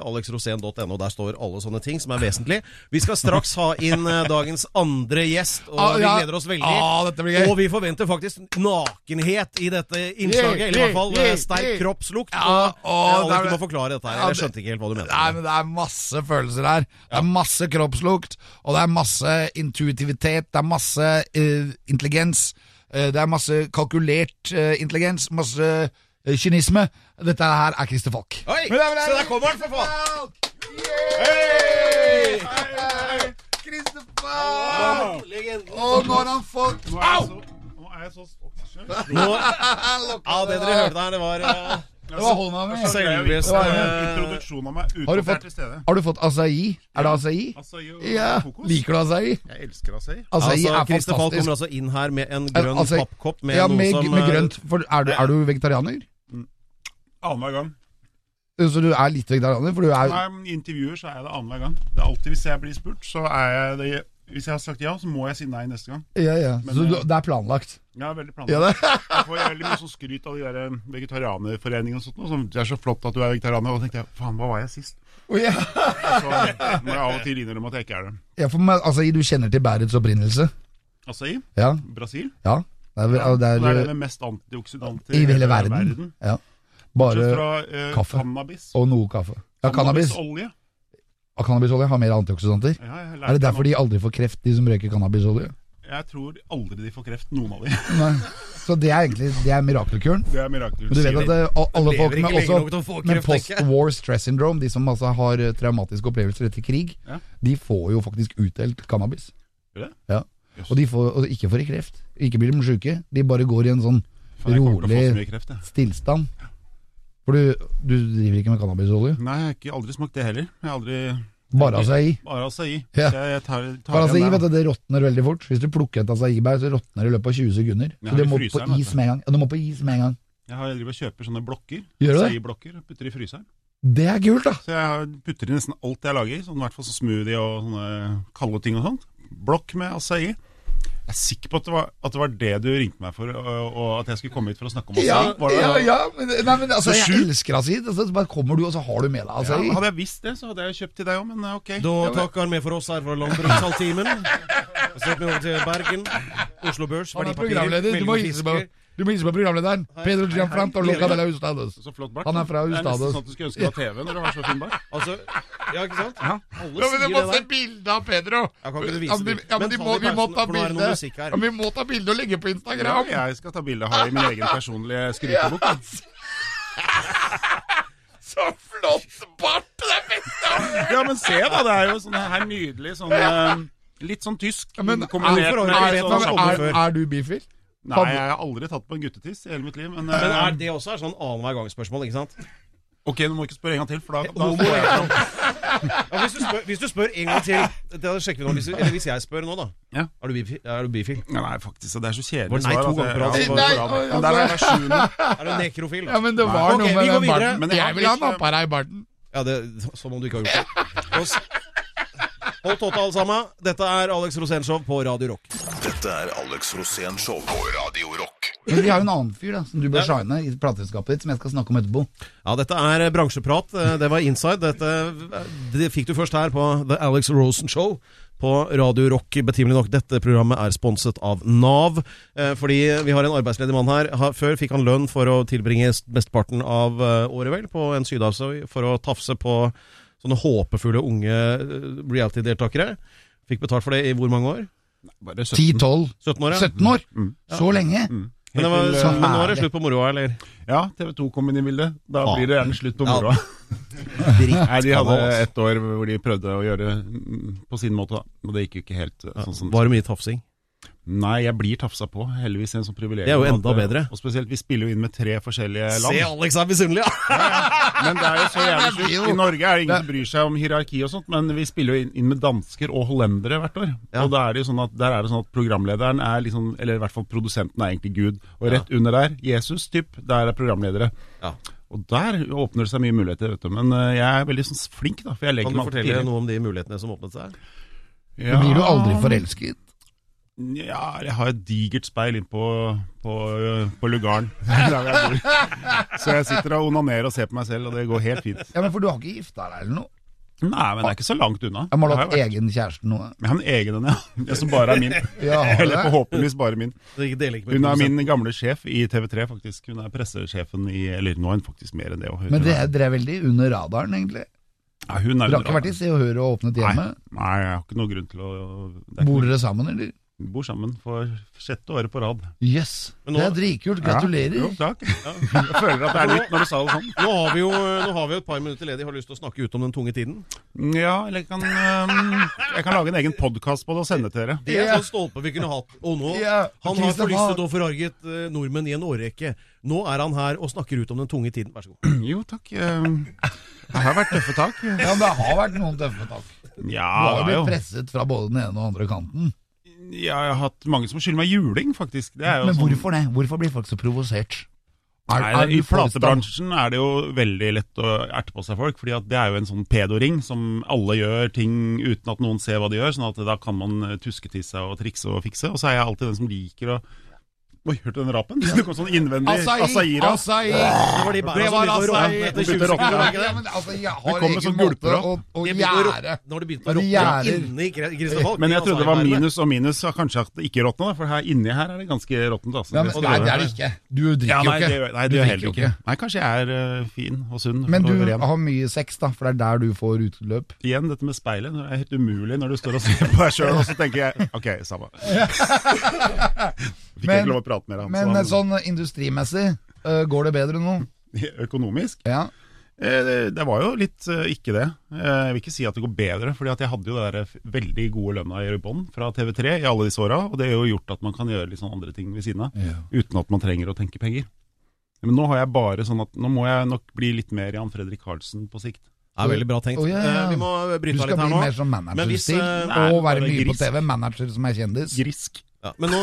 Speaker 2: www.alexrosen.no. Der står alle sånne ting som er vesentlig. Vi skal straks ha inn eh, dagens andre gjest, og
Speaker 1: Ah,
Speaker 2: vi
Speaker 1: ja.
Speaker 2: gleder oss veldig.
Speaker 1: Ah, dette blir gøy.
Speaker 2: Og vi forventer faktisk nakenhet i dette innslaget.
Speaker 1: Yeah,
Speaker 2: Eller i hvert fall eh,
Speaker 1: yeah,
Speaker 2: sterk
Speaker 1: yeah.
Speaker 2: kroppslukt.
Speaker 1: Ja,
Speaker 2: og,
Speaker 1: å,
Speaker 2: eh, Alex,
Speaker 1: der-
Speaker 2: du må forklare dette her.
Speaker 1: Ja,
Speaker 2: Jeg
Speaker 1: det-
Speaker 2: skjønte ikke helt hva du mente.
Speaker 1: Nei, men det er masse følelser her. Det er masse kroppslukt, og det er masse intuitivitet, det er masse eh, intelligens, eh, det er masse kalkulert eh, intelligens, masse eh, kynisme. Dette her er Christer Falk.
Speaker 2: Oi!
Speaker 1: Men det er-
Speaker 2: Se, der kommer han, for faen!
Speaker 1: Hei! Christer Falk! Og når han får Au!
Speaker 4: Nå er jeg så
Speaker 2: Nå, ja, det dere hørte her, det var eh,
Speaker 1: Det var hånda mi.
Speaker 2: selveste
Speaker 4: Introduksjonen av meg
Speaker 1: eh, Har du
Speaker 4: utåt er
Speaker 1: fått,
Speaker 4: til stede. Altså,
Speaker 1: har du fått acai? Er det acai?
Speaker 4: Acai og
Speaker 1: Ja.
Speaker 4: kokos.
Speaker 1: Liker du acai?
Speaker 4: Jeg elsker acai.
Speaker 1: Acai
Speaker 2: Altså,
Speaker 1: er
Speaker 2: Christer Falk
Speaker 1: fantastisk.
Speaker 2: kommer altså inn her med en grønn
Speaker 1: Altså,
Speaker 2: pappkopp med
Speaker 1: ja,
Speaker 2: noe
Speaker 1: med,
Speaker 2: som
Speaker 1: med
Speaker 2: eh,
Speaker 1: grønt. For er, du, er du vegetarianer?
Speaker 4: Annenhver gang.
Speaker 1: Så du er litt vegetarianer? For du er
Speaker 4: Nei, men I intervjuer så er jeg det annenhver gang. Det er alltid Hvis jeg blir spurt, så er jeg det Hvis jeg har sagt ja, så må jeg si nei neste gang.
Speaker 1: ja, ja.
Speaker 4: Men,
Speaker 1: Så du,
Speaker 4: eh,
Speaker 1: det er planlagt?
Speaker 4: Jeg er veldig
Speaker 1: Ja, det.
Speaker 4: planlagt. Jeg får veldig mye sånn skryt av de der vegetarianerforeningene og sånt. noe, Som, det er så flott at du er vegetarianer. Og da tenkte jeg faen, hva var jeg sist?
Speaker 1: Å, ja.
Speaker 4: Så eh, må jeg av og til innrømme at jeg ikke er det.
Speaker 1: ja, for meg, altså, du kjenner til bærets opprinnelse?
Speaker 4: Acai,
Speaker 1: Ja.
Speaker 4: Altså, Brasil.
Speaker 1: ja. Det er, vel- det
Speaker 4: Det er det
Speaker 1: er,
Speaker 4: med mest antioksidanter
Speaker 1: I hele verden. Ja.
Speaker 4: Bortsett
Speaker 1: Bare
Speaker 4: fra eh,
Speaker 1: kaffe.
Speaker 4: cannabis.
Speaker 1: Og noe kaffe. Ja, cannabis.
Speaker 4: Cannabisolje.
Speaker 1: Og cannabisolje har mer antioksidanter.
Speaker 4: Ja, jeg lærte
Speaker 1: Er det
Speaker 4: meg
Speaker 1: derfor de aldri får kreft, de som røyker cannabisolje?
Speaker 4: noe. Jeg tror aldri de får kreft, noen av de.
Speaker 1: Nei. Så det er egentlig det er mirakelkuren.
Speaker 4: Det er mirakel.
Speaker 1: Men du vet at det, al- alle altså,
Speaker 2: lever
Speaker 1: folk
Speaker 2: ikke
Speaker 1: med,
Speaker 2: lenge nok til
Speaker 1: også,
Speaker 2: å få
Speaker 1: med
Speaker 2: kreft, tenker jeg.
Speaker 1: post-war stress syndrome, de som altså har eh, traumatiske opplevelser etter krig,
Speaker 4: Ja.
Speaker 1: de får jo faktisk utdelt cannabis.
Speaker 4: Gjør det?
Speaker 1: Ja.
Speaker 4: Jøss.
Speaker 1: Og de får, og ikke får de kreft. Ikke blir de sjuke. De bare går i en sånn
Speaker 4: Faen, jeg kommer til å få så
Speaker 1: rolig
Speaker 4: mye kreft, jeg.
Speaker 1: stillstand. For du, du driver ikke med cannabisolje?
Speaker 4: Nei, jeg har ikke, aldri smakt det heller. Jeg har aldri
Speaker 1: Bare acai.
Speaker 4: Bare acai.
Speaker 1: Ja.
Speaker 4: Så Jeg, jeg tar, tar
Speaker 1: For acai
Speaker 4: igjen
Speaker 1: vet
Speaker 4: der,
Speaker 1: du, det råtner veldig fort. Hvis du plukker et acaibær, så råtner det i løpet av 20 sekunder.
Speaker 4: Ja,
Speaker 1: Så det
Speaker 4: i
Speaker 1: må på
Speaker 4: fryseren, vet
Speaker 1: is
Speaker 4: du.
Speaker 1: med en gang. Ja, det må på is med en gang.
Speaker 4: da. Jeg har- jeg driver og kjøper sånne blokker.
Speaker 1: Gjør du det?
Speaker 4: Acai-blokker. og Putter i fryseren.
Speaker 1: Det er kult, da!
Speaker 4: Så jeg har- putter i nesten alt jeg lager. Sånn, I hvert fall sånn smoothie og sånne kalde ting og sånt. Blokk med acai. Jeg er sikker på at det var, at det, var det du ringte meg for, og, og at jeg skulle komme hit for å snakke om acai.
Speaker 1: Ja,
Speaker 4: Var det-
Speaker 1: ja, ja men, nei, men altså,
Speaker 4: Så
Speaker 1: jeg
Speaker 4: sjukt.
Speaker 1: elsker acai. Altså, så bare kommer du, og så har du med deg
Speaker 4: Ja,
Speaker 1: acai.
Speaker 4: hadde jeg visst det, så hadde jeg kjøpt til deg òg, men eh, ok.
Speaker 2: Da takker vi for oss her fra Landbrukshalvtimen. Så setter vi over til Bergen. Oslo Børs,
Speaker 1: Han er
Speaker 2: verdipapirer,
Speaker 1: programleder. Du må hilse på,
Speaker 2: meldingsfisker.
Speaker 1: du må hilse på programlederen. Pedro Gianfranto Luca de la Hustados.
Speaker 4: Så flott, Bart.
Speaker 1: Han er fra altså.
Speaker 4: Det er nesten
Speaker 1: Ustados.
Speaker 4: sånn at du skulle ønske det var TV når det var så fin bart.
Speaker 2: Altså, ja, ikke sant? Alle
Speaker 1: Ja, men
Speaker 2: sier
Speaker 1: Du
Speaker 2: det
Speaker 1: må se
Speaker 2: der.
Speaker 1: bilde av Pedro!
Speaker 2: Jeg kan ikke
Speaker 1: Ja,
Speaker 2: vise
Speaker 1: men
Speaker 2: det.
Speaker 1: de- ja, men de
Speaker 2: ta
Speaker 1: må-
Speaker 2: det i
Speaker 1: vi må
Speaker 2: pausen,
Speaker 1: ta
Speaker 2: for nå er det noe
Speaker 1: bilde.
Speaker 2: musikk her.
Speaker 1: Ja, vi må ta bilde og legge på
Speaker 4: Ja,
Speaker 1: Instagram!
Speaker 4: jeg skal ta bilde av i min egen personlige skrytebok.
Speaker 1: Så flott bart! Det er beste!
Speaker 4: Ja, men se da, det er jo sånn her nydelig sånn eh, Litt sånn tysk.
Speaker 1: Men
Speaker 4: kombinert
Speaker 2: hvorfor
Speaker 4: med
Speaker 2: har
Speaker 1: er,
Speaker 2: du
Speaker 4: litt
Speaker 2: ikke
Speaker 4: sånn
Speaker 2: det?
Speaker 4: sånn-
Speaker 1: er, er, er du bifil?
Speaker 4: Nei, jeg har aldri tatt på en guttetiss i hele mitt liv, men, eh,
Speaker 2: Men er det også er sånn annenhver gang-spørsmål, ikke sant?
Speaker 4: Ok, du må ikke spørre en gang til, for da,
Speaker 1: Eh,
Speaker 4: da
Speaker 1: oh,
Speaker 2: Homo,
Speaker 4: får jeg sånn-
Speaker 2: ikke sant? Ja, hvis, du spør, hvis du spør en gang til Det sjekker vi nå. Hvis, eller hvis jeg spør nå, da.
Speaker 4: Ja.
Speaker 2: Er du bifil? Er du, bifil?
Speaker 4: Nei, faktisk, det er så
Speaker 2: Var
Speaker 4: kjedelig
Speaker 2: det nei to
Speaker 4: at jeg-
Speaker 2: ganger på rad?
Speaker 4: ja, det var
Speaker 1: Nei, altså.
Speaker 4: på rad.
Speaker 1: oi,
Speaker 4: Men der er jeg sjuende.
Speaker 2: er du nekrofil?
Speaker 1: Ja, men det var
Speaker 2: Ok,
Speaker 1: noe
Speaker 2: vi
Speaker 1: med
Speaker 2: går
Speaker 1: den
Speaker 2: videre.
Speaker 1: barten.
Speaker 4: Men
Speaker 1: Men jeg
Speaker 4: jeg
Speaker 1: vil ha
Speaker 4: har
Speaker 1: den
Speaker 2: eh,
Speaker 4: litt-
Speaker 1: oppå deg i barten.
Speaker 2: Ja, det, som om du ikke har gjort det. Og s- Hold tåta, alle sammen. Dette er Alex Rosénshow på Radio Rock.
Speaker 3: Dette er Alex Rosén Show på Radio Rock.
Speaker 1: Men vi har jo en annen fyr da, som du bør shine i plateselskapet ditt, som jeg skal snakke om etterpå.
Speaker 2: Ja, dette er bransjeprat. Eh, Det var inside. Dette eh, det fikk du først her på The Alex Rosen Show på Radio Rock, betimelig nok. Dette programmet er sponset av Nav. eh, Fordi vi har en arbeidsledig mann her. Ha- Før fikk han lønn for å tilbringe s- mesteparten av eh, året, vel, på en sydhavsøy for å tafse på sånne håpefulle unge eh, reality-deltakere. Fikk betalt for det i hvor mange år?
Speaker 4: Bare 17.
Speaker 1: 10-12,
Speaker 2: 17 år, ja. Mm.
Speaker 1: 17 år? Så lenge?
Speaker 2: Men, det var,
Speaker 4: Helt til,
Speaker 1: så-
Speaker 4: eh,
Speaker 2: men nå er det slutt på moroa, eller?
Speaker 4: Ja, TV 2 kom inn i bildet. Da
Speaker 1: Ja.
Speaker 4: blir det gjerne slutt på
Speaker 2: Ja.
Speaker 4: moroa. Nei, de hadde
Speaker 2: altså.
Speaker 4: et år hvor de prøvde å gjøre mm, på sin måte, da. Og det gikk jo ikke helt eh, sånn som
Speaker 2: Var det mye tafsing?
Speaker 4: Nei, jeg blir tafsa på. Heldigvis en sånn privilegium.
Speaker 2: Det er jo enda
Speaker 4: at, eh,
Speaker 2: bedre.
Speaker 4: Og spesielt, vi spiller jo inn med tre forskjellige land.
Speaker 2: Se, Alex er misunnelig, ja!
Speaker 4: Men det er jo så jævlig
Speaker 1: Det blir jo-
Speaker 4: sjukt. I Norge er det ingen som bryr seg om hierarki og sånt, men vi spiller jo inn- inn med dansker og hollendere hvert år.
Speaker 2: Ja.
Speaker 4: Og da er det jo sånn at, der er det sånn at programlederen er liksom, eller i hvert fall produsenten er egentlig Gud. Og rett under der, Jesus typ, der er programledere.
Speaker 2: Ja.
Speaker 4: Og der åpner det seg mye muligheter, vet du. Men eh, jeg er veldig sånn flink da, for jeg
Speaker 2: Kan
Speaker 4: legger
Speaker 2: du
Speaker 4: meg alltid
Speaker 2: fortelle
Speaker 4: tidlig.
Speaker 2: noe om de mulighetene som åpnet seg?
Speaker 1: Da blir du aldri forelsket.
Speaker 4: Ja, jeg har et digert speil inn på, på, eh, på lugaren der hvor jeg bor. Så jeg sitter og onanerer og ser på meg selv, og det går helt fint.
Speaker 1: Ja, men For du har ikke gifta deg eller noe?
Speaker 4: Nei, men det er ikke så langt unna.
Speaker 1: Jeg må
Speaker 4: Jeg
Speaker 1: ha
Speaker 4: har
Speaker 1: hatt
Speaker 4: vært-
Speaker 1: egen kjæreste nå.
Speaker 4: Jeg har en egen en, ja. Jeg som bare er min.
Speaker 1: Ja, har du
Speaker 4: Eller
Speaker 1: det?
Speaker 4: forhåpentligvis bare min.
Speaker 2: Det deler ikke med
Speaker 4: Hun er
Speaker 2: produsenten.
Speaker 4: min gamle sjef i TV3, faktisk. Hun er pressesjefen i Eller nå er hun faktisk mer enn det. og Hun,
Speaker 1: Men det
Speaker 4: er,
Speaker 1: drev veldig under radaren, egentlig.
Speaker 4: ja, hun er
Speaker 1: Du har ikke vært i Se og Hør og åpnet
Speaker 4: Nei,
Speaker 1: hjemmet?
Speaker 4: nei, jeg har ikke noen grunn til å det er ikke
Speaker 1: Bor
Speaker 4: noe-
Speaker 1: dere sammen, eller?
Speaker 4: Vi bor sammen for sjette året på rad.
Speaker 1: Jøss.
Speaker 2: Men
Speaker 1: Det
Speaker 2: nå-
Speaker 1: er dritkult. Gratulerer.
Speaker 4: Ja, jo, takk. Jeg føler at det er nytt når du sa det sånn.
Speaker 2: Nå har vi jo eh, nå har vi jo et par minutter ledig. Har du lyst til å snakke ut om den tunge tiden?
Speaker 4: Ja, eller jeg kan, øhm, jeg kan lage en egen podkast på det og sende til dere.
Speaker 2: Det er en sånn stolpe vi kunne hatt. Og nå
Speaker 1: Ja,
Speaker 2: Han har
Speaker 1: Kristian
Speaker 2: forlystet
Speaker 1: har-
Speaker 2: og forarget eh, nordmenn i en årrekke. Nå er han her og snakker ut om den tunge tiden. Vær så god.
Speaker 4: Jo, takk. øhm, Det har vært tøffe tak.
Speaker 1: Ja, men det har vært noen tøffe tak. Du
Speaker 4: Ja,
Speaker 1: har
Speaker 4: det er
Speaker 1: jo
Speaker 4: jo
Speaker 1: blitt presset fra både den ene og den andre kanten.
Speaker 4: Ja, jeg har hatt mange som skylder meg juling, faktisk. Det er jo
Speaker 1: Men
Speaker 4: sånn-
Speaker 1: hvorfor det? Hvorfor blir folk så provosert? Er-
Speaker 4: Nei,
Speaker 1: er
Speaker 4: I
Speaker 1: du forstand-
Speaker 4: platebransjen er det jo veldig lett å erte på seg folk, fordi at det er jo en sånn pedoring som alle gjør ting uten at noen ser hva de gjør, sånn at da kan man eh, tuske til seg og trikse og fikse. Og så er jeg alltid den som liker å Oi, hørte du den rapen? Det kom sånn innvendig
Speaker 1: Acai!
Speaker 4: Asaira.
Speaker 1: Acai!
Speaker 2: Det var de bæra
Speaker 1: Det
Speaker 2: som
Speaker 1: var
Speaker 2: begynte å
Speaker 1: acai!
Speaker 2: råtne etter 20
Speaker 4: Det begynte å
Speaker 2: sekunder. var det
Speaker 1: Ja,
Speaker 2: ikke det?
Speaker 1: men altså, jeg
Speaker 4: Det
Speaker 1: har
Speaker 4: kommer
Speaker 1: egen
Speaker 4: som
Speaker 1: måte
Speaker 4: gulper
Speaker 1: å, å
Speaker 2: De begynte å
Speaker 1: gjære
Speaker 2: råtne- Nå har det begynt
Speaker 1: Ja, de
Speaker 2: å råtne
Speaker 1: gjærer.
Speaker 2: inni Gre- Christoffer.
Speaker 4: Men jeg
Speaker 2: Inni
Speaker 4: trodde det var
Speaker 2: acai-bæret.
Speaker 4: minus og minus, og kanskje at det ikke råtna. da, For her inni her er det ganske råttent. altså.
Speaker 1: ja, men,
Speaker 4: skal
Speaker 1: Nei,
Speaker 4: gjøre
Speaker 1: det er det ikke. Du drikker
Speaker 4: Ja, nei,
Speaker 1: jo
Speaker 4: det,
Speaker 1: ikke.
Speaker 4: nei,
Speaker 1: Du
Speaker 4: det gjør jeg
Speaker 1: drikker
Speaker 4: heller
Speaker 1: jo
Speaker 4: ikke. Nei, kanskje jeg er eh, fin og sunn.
Speaker 1: Men du
Speaker 4: og ren.
Speaker 1: har mye sex, da, for det er der du får utløp.
Speaker 4: Igjen dette med speilet. Det er helt umulig når du står og ser på deg sjøl, og så tenker jeg OK, samme. Fikk
Speaker 1: Men-
Speaker 4: ikke lov å prate med han.
Speaker 1: Men eh,
Speaker 4: så han
Speaker 1: sånn industrimessig, eh, går det bedre nå?
Speaker 4: Økonomisk?
Speaker 1: Ja.
Speaker 4: Eh, det, det var jo litt eh, ikke det. Eh, jeg vil ikke si at det går bedre, Fordi at jeg hadde jo det der f- veldig gode lønna i bånn fra TV3 i alle disse åra, og det har jo gjort at man kan gjøre litt sånn andre ting ved siden av uten at man trenger å tenke penger. Men nå har jeg bare sånn at nå må jeg nok bli litt mer Jan Fredrik Karlsen på sikt.
Speaker 2: Det er veldig bra tenkt.
Speaker 1: Å, ja, ja.
Speaker 2: Eh, Vi må
Speaker 1: Du
Speaker 2: bryte av
Speaker 1: skal
Speaker 2: litt
Speaker 1: bli
Speaker 2: her nå.
Speaker 1: mer sånn
Speaker 2: Men hvis,
Speaker 1: managerstil,
Speaker 2: eh,
Speaker 1: og
Speaker 4: nei,
Speaker 1: være
Speaker 4: bare
Speaker 1: mye på
Speaker 4: gris.
Speaker 1: TV. Manager som er kjendis.
Speaker 4: Grisk.
Speaker 2: Ja, men nå,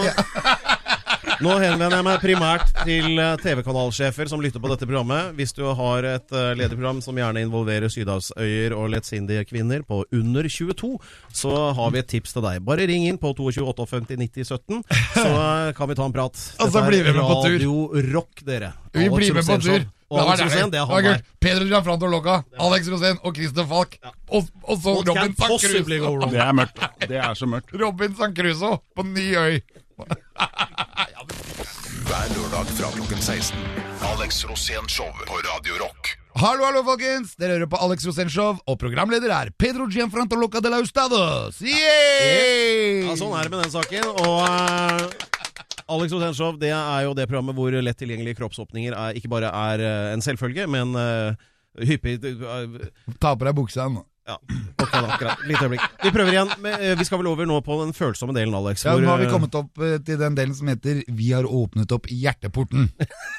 Speaker 2: nå henvender jeg meg primært til eh, TV-kanalsjefer som lytter på dette programmet. Hvis du har et eh, ledig program som gjerne involverer sydhavsøyer og lettsindige kvinner på under 22, så har vi et tips til deg. Bare ring inn på 22 58 90 17, så eh, kan vi ta en prat.
Speaker 1: Og så blir vi med på tur.
Speaker 2: Radio Rock, dere.
Speaker 1: Vi
Speaker 2: Alex
Speaker 1: blir med på
Speaker 2: Rosén
Speaker 1: tur.
Speaker 2: Show. Og Alex Rosén, det er han der.
Speaker 1: Pedro Gianfranto Loca, Alex Rosén og Christer Falk. Og, og så
Speaker 2: What
Speaker 1: Robin
Speaker 2: can possibly go
Speaker 1: Sancruso.
Speaker 2: wrong?
Speaker 4: Det er mørkt. Det er så mørkt.
Speaker 1: Robin Sancruso på ny øy.
Speaker 3: Hver lørdag fra klokken 16. Alex Rosén Show på Radio Rock.
Speaker 1: Hallo, hallo, folkens! Dere hører på Alex Rosén Show, og programleder er Pedro Gianfranto Loca de la Ustados.
Speaker 2: Ja, sånn er det med den saken. Og eh, Alex Osenshov, det er jo det programmet hvor lett tilgjengelige kroppsåpninger er, ikke bare er eh, en selvfølge, men eh, hyppig eh,
Speaker 1: Ta på deg buksa nå.
Speaker 2: Ja, ok da, akkurat. Litt øyeblikk. Vi prøver igjen. Men, eh, vi skal vel over nå på den følsomme delen, Alex.
Speaker 1: Ja,
Speaker 2: hvor,
Speaker 1: nå har vi
Speaker 2: eh,
Speaker 1: kommet opp eh, til den delen som heter 'Vi har åpnet opp hjerteporten'.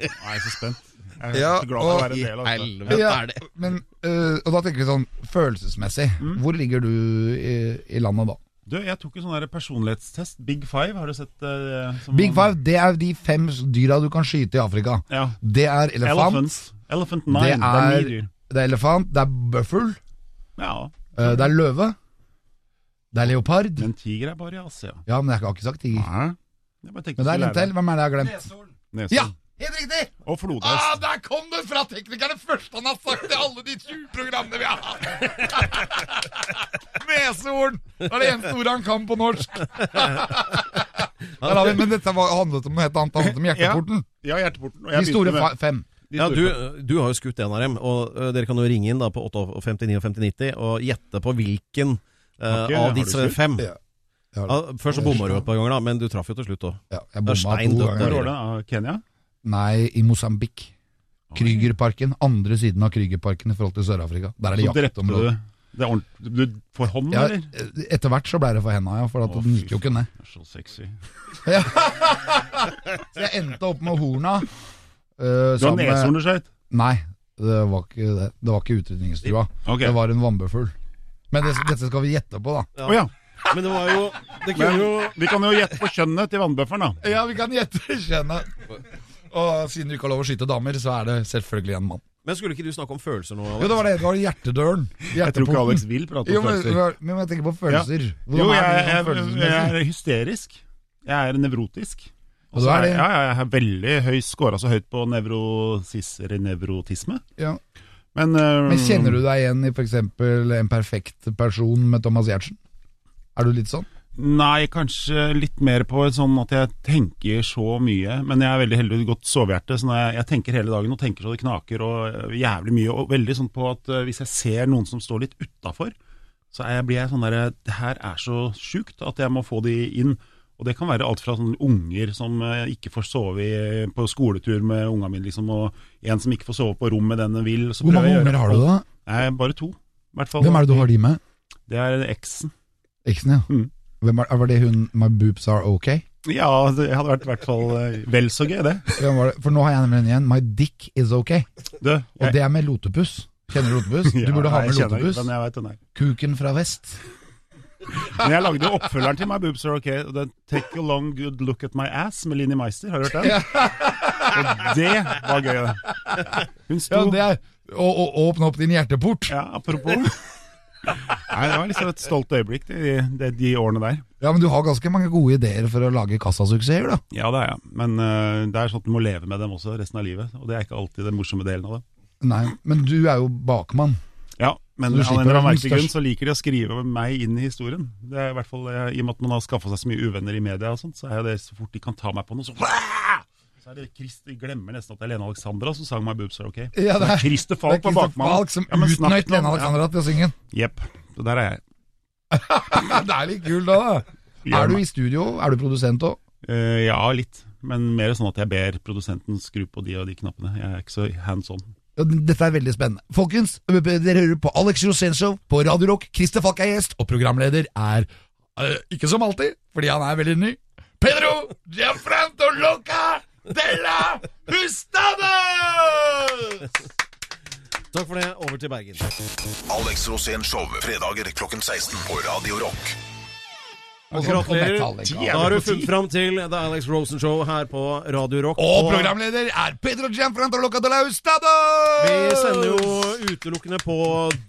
Speaker 4: Jeg er så spent. Jeg er
Speaker 1: Ja,
Speaker 4: så glad for å
Speaker 1: og
Speaker 4: være en del av dette.
Speaker 2: Helvete
Speaker 1: Ja,
Speaker 2: er det.
Speaker 1: men, eh, og da tenker vi sånn følelsesmessig. Hvor ligger du i, i landet da?
Speaker 4: Du, jeg tok en sånn der personlighetstest. Big Five, har du sett? eh, som-
Speaker 1: Big Five, det er de fem dyra du kan skyte i Afrika.
Speaker 4: Ja.
Speaker 1: Det er elefant,
Speaker 4: Elephants. Elephant
Speaker 1: Det
Speaker 4: Nine. Det er,
Speaker 1: er-
Speaker 4: ni dyr.
Speaker 1: det er elefant, det er bøffel,
Speaker 4: Ja,
Speaker 1: eh, det er løve, det er leopard.
Speaker 4: men tiger er bare i Asia.
Speaker 1: Ja, men jeg har ikke sagt tiger.
Speaker 4: Nei. Jeg bare tenkte
Speaker 1: Men det er en
Speaker 4: jeg skulle lære
Speaker 1: til. Hvem er det jeg har glemt?
Speaker 4: Nesum.
Speaker 1: Ja! Helt riktig!
Speaker 4: Og flodhest.
Speaker 1: Ah, der kom det fra teknikerne først han har sagt i alle de 20 programmene vi har hatt! Nesehorn! Det er det eneste ordet han kan på norsk. Der har vi, men dette var, handlet om noe helt annet. Det handlet om hjerteporten.
Speaker 4: Ja, hjerteporten. Og jeg
Speaker 1: De store
Speaker 4: begynte
Speaker 1: fa-
Speaker 4: med-
Speaker 1: fem.
Speaker 4: de
Speaker 2: Ja,
Speaker 4: store
Speaker 2: du,
Speaker 4: fa-
Speaker 2: du har jo skutt en av dem, og ø, dere kan jo ringe inn da på 5859 og 5090 og gjette på hvilken ø,
Speaker 4: Takke, har
Speaker 2: av
Speaker 4: du
Speaker 2: disse
Speaker 4: skutt?
Speaker 2: fem.
Speaker 1: Ja. Ja,
Speaker 2: Ja, først så bomma du et par ganger, da, men du traff jo til slutt òg.
Speaker 1: Ja, jeg
Speaker 2: Det er
Speaker 1: bomma to
Speaker 2: stein dødt
Speaker 4: Hvor
Speaker 1: ganger.
Speaker 4: var det? Ah, Kenya?
Speaker 1: Nei, i Mosambik. Krügerparken. Andre siden av Krügerparken i forhold til Sør-Afrika. Der er det
Speaker 4: Så drepte du
Speaker 1: jaktområde.
Speaker 4: det er ordent- Du får hånden,
Speaker 1: Ja,
Speaker 4: eller?
Speaker 1: etter hvert så ble det for henda, ja. For at
Speaker 4: Å,
Speaker 1: den
Speaker 4: fy
Speaker 1: gikk jo ikke ned.
Speaker 4: Det er så sexy.
Speaker 1: Så jeg endte opp med horna. eh,
Speaker 4: Du har
Speaker 1: sammen med-
Speaker 4: neshorn du skjøt?
Speaker 1: Nei, det var ikke det. Det var ikke utrydningstrua.
Speaker 4: Ok.
Speaker 1: Det var en vannbøffel. Men det, dette skal vi gjette på, da.
Speaker 4: Å ja.
Speaker 2: Men det var jo Det kunne
Speaker 4: Men
Speaker 2: jo
Speaker 4: vi kan jo gjette på kjønnet til vannbøfferen, da.
Speaker 1: Ja, vi kan gjette kjønnet. Og siden du ikke har lov å skyte damer, så er det selvfølgelig en mann.
Speaker 2: Men skulle ikke du snakke om følelser nå?
Speaker 1: Jo, det var det. Det var hjertedøren.
Speaker 4: Jeg tror ikke Alex vil prate
Speaker 1: Jo,
Speaker 4: om
Speaker 1: men,
Speaker 4: følelser.
Speaker 1: men jeg tenker på følelser.
Speaker 4: Jo,
Speaker 1: Hvordan
Speaker 4: jeg,
Speaker 1: er du
Speaker 4: jeg,
Speaker 1: sånn
Speaker 4: jeg,
Speaker 1: følelsesmessig?
Speaker 4: er hysterisk. Jeg er nevrotisk.
Speaker 1: Og du er det?
Speaker 4: Ja, ja, jeg har veldig høy scora så høyt på nevrosis, eller nevrotisme.
Speaker 1: Ja.
Speaker 4: Men, eh,
Speaker 1: Men kjenner du deg igjen i f.eks. en perfekt person med Thomas Giertsen? Er du litt sånn?
Speaker 4: Nei, kanskje litt mer på et sånn at jeg tenker så mye. Men jeg er veldig heldig og godt sovehjerte, så når jeg, jeg tenker hele dagen og tenker så det knaker og øh, jævlig mye. Og veldig sånn på at øh, hvis jeg ser noen som står litt utafor, så er jeg, blir jeg sånn derre Det her er så sjukt at jeg må få de inn. Og det kan være alt fra sånne unger som øh, ikke får sove i, på skoletur med unga mine, liksom, og en som ikke får sove på rom med den den vil. Så
Speaker 1: Hvor
Speaker 4: prøver
Speaker 1: mange
Speaker 4: jeg å gjøre
Speaker 1: unger har du, da?
Speaker 4: Nei, bare to. i hvert fall.
Speaker 1: Hvem er det du har de med?
Speaker 4: Det er eksen.
Speaker 1: Eksen, ja.
Speaker 4: Mm.
Speaker 1: Hvem er, var det hun My boobs are okay?
Speaker 4: Ja, det hadde vært i hvert fall eh, vel så gøy, det.
Speaker 1: Hvem var det? For nå har jeg nemlig en igjen. My dick is okay.
Speaker 4: Du,
Speaker 1: Og det er med lotepus. Kjenner du lotepus? Du burde ha med lotepus.
Speaker 4: Men jeg, vet den her.
Speaker 1: Kuken fra vest.
Speaker 4: men jeg lagde jo oppfølgeren til My Boobs Are Okay. Og den Take a long good look at my ass med Linni Meister. Har du hørt den? Og det var gøy. det. Hun sto
Speaker 1: Ja, det er og, og, Åpne opp din hjerteport.
Speaker 4: Ja, apropos. Nei, Det var liksom et stolt øyeblikk, de, de, de årene der.
Speaker 1: Ja, Men du har ganske mange gode ideer for å lage kassasuksesser, da.
Speaker 4: Ja, det er jeg. Men eh, det er sånn at du må leve med dem også resten av livet. Og det er ikke alltid den morsomme delen av det.
Speaker 1: Nei, men du er jo bakmann.
Speaker 4: Ja, men
Speaker 1: Så du slipper å
Speaker 4: av en eller annen
Speaker 1: være
Speaker 4: merkelig grunn
Speaker 1: størst.
Speaker 4: så liker de å skrive meg inn i historien. Det er i hvert fall, eh, I og med at man har skaffa seg så mye uvenner i media, og sånt, så er jo det så fort de kan ta meg på noe, så så er det Christ, jeg glemmer nesten at det er Lene Alexandra som sang My Boobs Are OK.
Speaker 1: Ja, det er-
Speaker 4: Christer Falk på bakmannen.
Speaker 1: Falk som
Speaker 4: Ja, men snakk
Speaker 1: utnøyt
Speaker 4: nå om-
Speaker 1: Lene Alexandra til å synge den.
Speaker 4: Ja, Jepp. Så der er jeg.
Speaker 1: Ja, det er litt kult, da. da.
Speaker 4: Gjør
Speaker 1: Er du
Speaker 4: meg.
Speaker 1: i studio? Er du produsent òg?
Speaker 4: Eh, ja, litt. Men mer sånn at jeg ber produsenten skru på de og de knappene. Jeg er ikke så hands on.
Speaker 1: Ja, Dette er veldig spennende. Folkens, dere hører på Alex Rosén Show på Radio Rock. Christer Falk er gjest, og programleder er eh, ikke som alltid, fordi han er veldig ny. Pedro Gianfranto Loca della Hustadøs!
Speaker 2: Takk for det. Over til Bergen.
Speaker 3: Alex Rosén Show. Fredager klokken 16 på Radio Rock.
Speaker 2: Gratulerer. Da har du funnet fram til The Alex Rosen Show her på Radio Rock.
Speaker 1: Og programleder er Pedro Gianfranto Loca della Hustadøs!
Speaker 2: Vi sender jo utelukkende på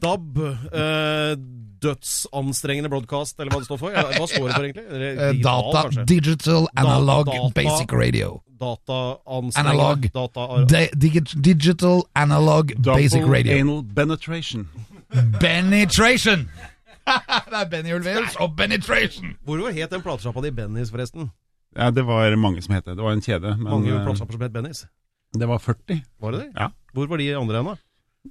Speaker 2: DAB. eh, dødsanstrengende broadcast, eller hva det står for. Ja, Hva står det for, egentlig? Eller
Speaker 1: Eh,
Speaker 2: digital,
Speaker 1: Data,
Speaker 2: kanskje?
Speaker 1: digital, analog,
Speaker 2: Data-
Speaker 1: basic radio.
Speaker 2: Dataanstrengende
Speaker 1: Analog.
Speaker 2: Data,
Speaker 1: Di- digi- digital, analog, basic radio.
Speaker 4: anal penetration.
Speaker 1: Benetration! det er Benny Ulvaeus og Benetration!
Speaker 2: Hvorfor het den platesjappa di Bennys, forresten?
Speaker 4: Ja, det var mange som het det. Det var en kjede. Men
Speaker 2: Mange
Speaker 4: eh,
Speaker 2: platesjapper som het Bennys.
Speaker 4: det var 40.
Speaker 2: Var det det?
Speaker 4: Ja.
Speaker 2: Hvor var de andre hen, da?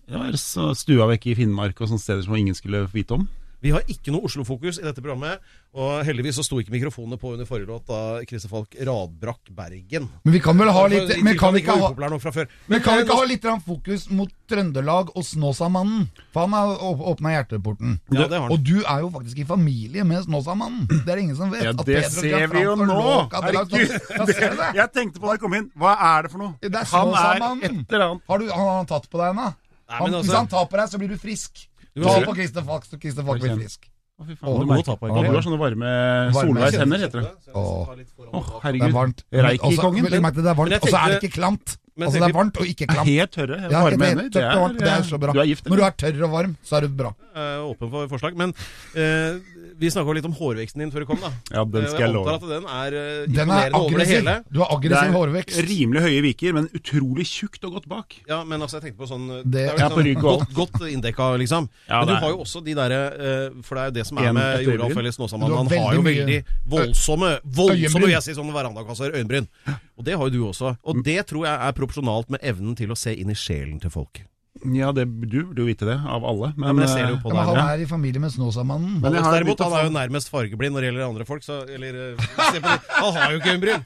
Speaker 4: Det var så stua vekk i Finnmark og sånne steder som ingen skulle vite om.
Speaker 2: Vi har ikke noe Oslo-fokus i dette programmet, og heldigvis så sto ikke mikrofonene på under forrige låt da Christer Falk radbrakk Bergen. Altså,
Speaker 1: Men vi kan vel ha litt Men kan vi ikke ha,
Speaker 2: upopulær nok fra før.
Speaker 1: men kan vi
Speaker 2: eh,
Speaker 1: ikke
Speaker 2: nå-
Speaker 1: ha litt grann fokus mot Trøndelag og Snåsamannen? For han har åpna hjerteporten.
Speaker 2: Ja, det har han.
Speaker 1: Og du er jo faktisk i familie med Snåsamannen. Det er ingen som vet.
Speaker 4: Ja,
Speaker 1: at
Speaker 4: det
Speaker 1: Pedro
Speaker 4: ser vi jo
Speaker 1: Gianfranco
Speaker 4: nå!
Speaker 1: Loca della
Speaker 4: Herregud!
Speaker 1: Hustadøs- Ja, ser du det?
Speaker 4: Jeg tenkte på da jeg kom inn, hva er det for noe?
Speaker 1: Det er
Speaker 4: Han er et
Speaker 1: Snåsamannen.
Speaker 4: eller annet.
Speaker 1: Har, du- har han tatt på deg ennå?
Speaker 2: Nei,
Speaker 1: Han-
Speaker 2: men
Speaker 1: Hvis
Speaker 2: altså,
Speaker 1: han tar på deg, så blir du frisk.
Speaker 2: Du
Speaker 1: Ta
Speaker 2: ser-
Speaker 1: på Christer Falk, så Christer Falk blir frisk.
Speaker 4: Å, fy
Speaker 1: Å, du
Speaker 4: faen. Du,
Speaker 2: må ta på
Speaker 4: merker-
Speaker 2: egentlig.
Speaker 4: Å, du har sånne varme
Speaker 1: Varme
Speaker 4: Solveigs hender, heter det.
Speaker 1: Åh.
Speaker 4: Å,
Speaker 1: Det er
Speaker 4: herregud.
Speaker 1: varmt. Altså,
Speaker 4: Reik i
Speaker 1: Også-
Speaker 4: kongen.
Speaker 1: Legg merke til det er varmt.
Speaker 2: Men jeg
Speaker 1: Og så er det
Speaker 2: tenkte-
Speaker 1: ikke klamt.
Speaker 2: Men
Speaker 1: altså, det
Speaker 2: tenker-
Speaker 1: er varmt og ikke klamt.
Speaker 4: Helt tørre
Speaker 1: Ja,
Speaker 4: varme
Speaker 1: helt
Speaker 4: hender.
Speaker 1: tørt og varmt, det er så bra.
Speaker 4: Du er gift,
Speaker 1: Når du
Speaker 4: eller?
Speaker 1: er tørr og varm, så er du bra.
Speaker 2: Jeg er åpen for forslag. Men eh, vi snakka litt om hårveksten din før du kom, da.
Speaker 4: Ja, den skal jeg
Speaker 2: jeg antar
Speaker 4: love.
Speaker 2: at den er eh,
Speaker 1: Den er
Speaker 2: imponerende over det
Speaker 1: aggressiv.
Speaker 2: hele.
Speaker 1: Du har
Speaker 4: Det
Speaker 1: aggressiv
Speaker 4: er
Speaker 1: hårvekst.
Speaker 4: rimelig høye viker, men utrolig tjukt og godt bak.
Speaker 2: Ja, men altså, jeg tenkte på sånn eh,
Speaker 1: Det-
Speaker 2: er jo
Speaker 4: Ja, på rygg og
Speaker 2: godt, godt inndekka, liksom.
Speaker 4: Ja,
Speaker 2: men du
Speaker 4: det er-
Speaker 2: har jo også de derre eh, For det er jo det som er
Speaker 4: En
Speaker 2: med
Speaker 4: etter
Speaker 2: Joralf
Speaker 4: øyebryn.
Speaker 2: Ellis Snåsamann.
Speaker 1: Du har
Speaker 2: Han har jo
Speaker 1: veldig mye-
Speaker 2: veldig voldsomme,
Speaker 1: Øyenbryn.
Speaker 2: voldsomme vil jeg si, sånne verandakasser, øyenbryn. Og det har jo du også. Og det tror jeg er proporsjonalt med evnen til å se inn i sjelen til folk.
Speaker 4: Ja, det, du burde jo vite det, av alle. Men,
Speaker 2: men jeg ser det jo
Speaker 4: eh,
Speaker 2: på
Speaker 1: Ja, men han
Speaker 4: ja.
Speaker 1: er i familie med Snåsamannen.
Speaker 4: Men jeg
Speaker 2: Alex
Speaker 4: har
Speaker 2: altså, derimot,
Speaker 4: litt
Speaker 2: han
Speaker 4: av-
Speaker 2: er jo nærmest fargeblind når det gjelder andre folk, så eller, eh, se på det. Han har jo ikke øyenbryn!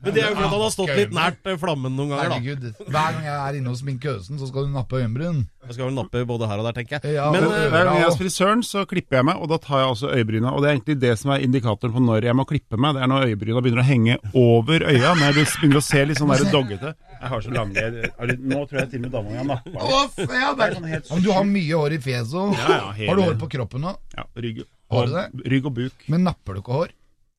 Speaker 2: Men det er jo fordi han har stått litt nært eh, flammen noen ganger, da.
Speaker 1: Herregud. Hver gang jeg er inne hos sminkøsen, så skal du nappe øyenbryn.
Speaker 2: Jeg skal vel nappe både her og der, tenker jeg.
Speaker 1: Ja,
Speaker 2: Men
Speaker 1: og
Speaker 2: eh,
Speaker 1: ører
Speaker 4: Hver gang jeg er
Speaker 1: og-
Speaker 4: hos frisøren, så klipper jeg meg, og da tar jeg også øyebryna. Og det er egentlig det som er indikatoren på når jeg må klippe meg. Det er når øyebryna begynner å henge over øya, når du begynner å se litt sånn der doggete. Jeg har så lange er det- Nå tror jeg til og med dama mi har nappa
Speaker 1: Å, f- ja, det er- Ja, men du har mye hår i fjeset òg.
Speaker 4: Ja, ja, hele-
Speaker 1: Har du hår på kroppen nå?
Speaker 4: ja, rygg,
Speaker 1: Har
Speaker 4: og,
Speaker 1: du det?
Speaker 4: rygg og buk.
Speaker 1: Men napper du ikke hår?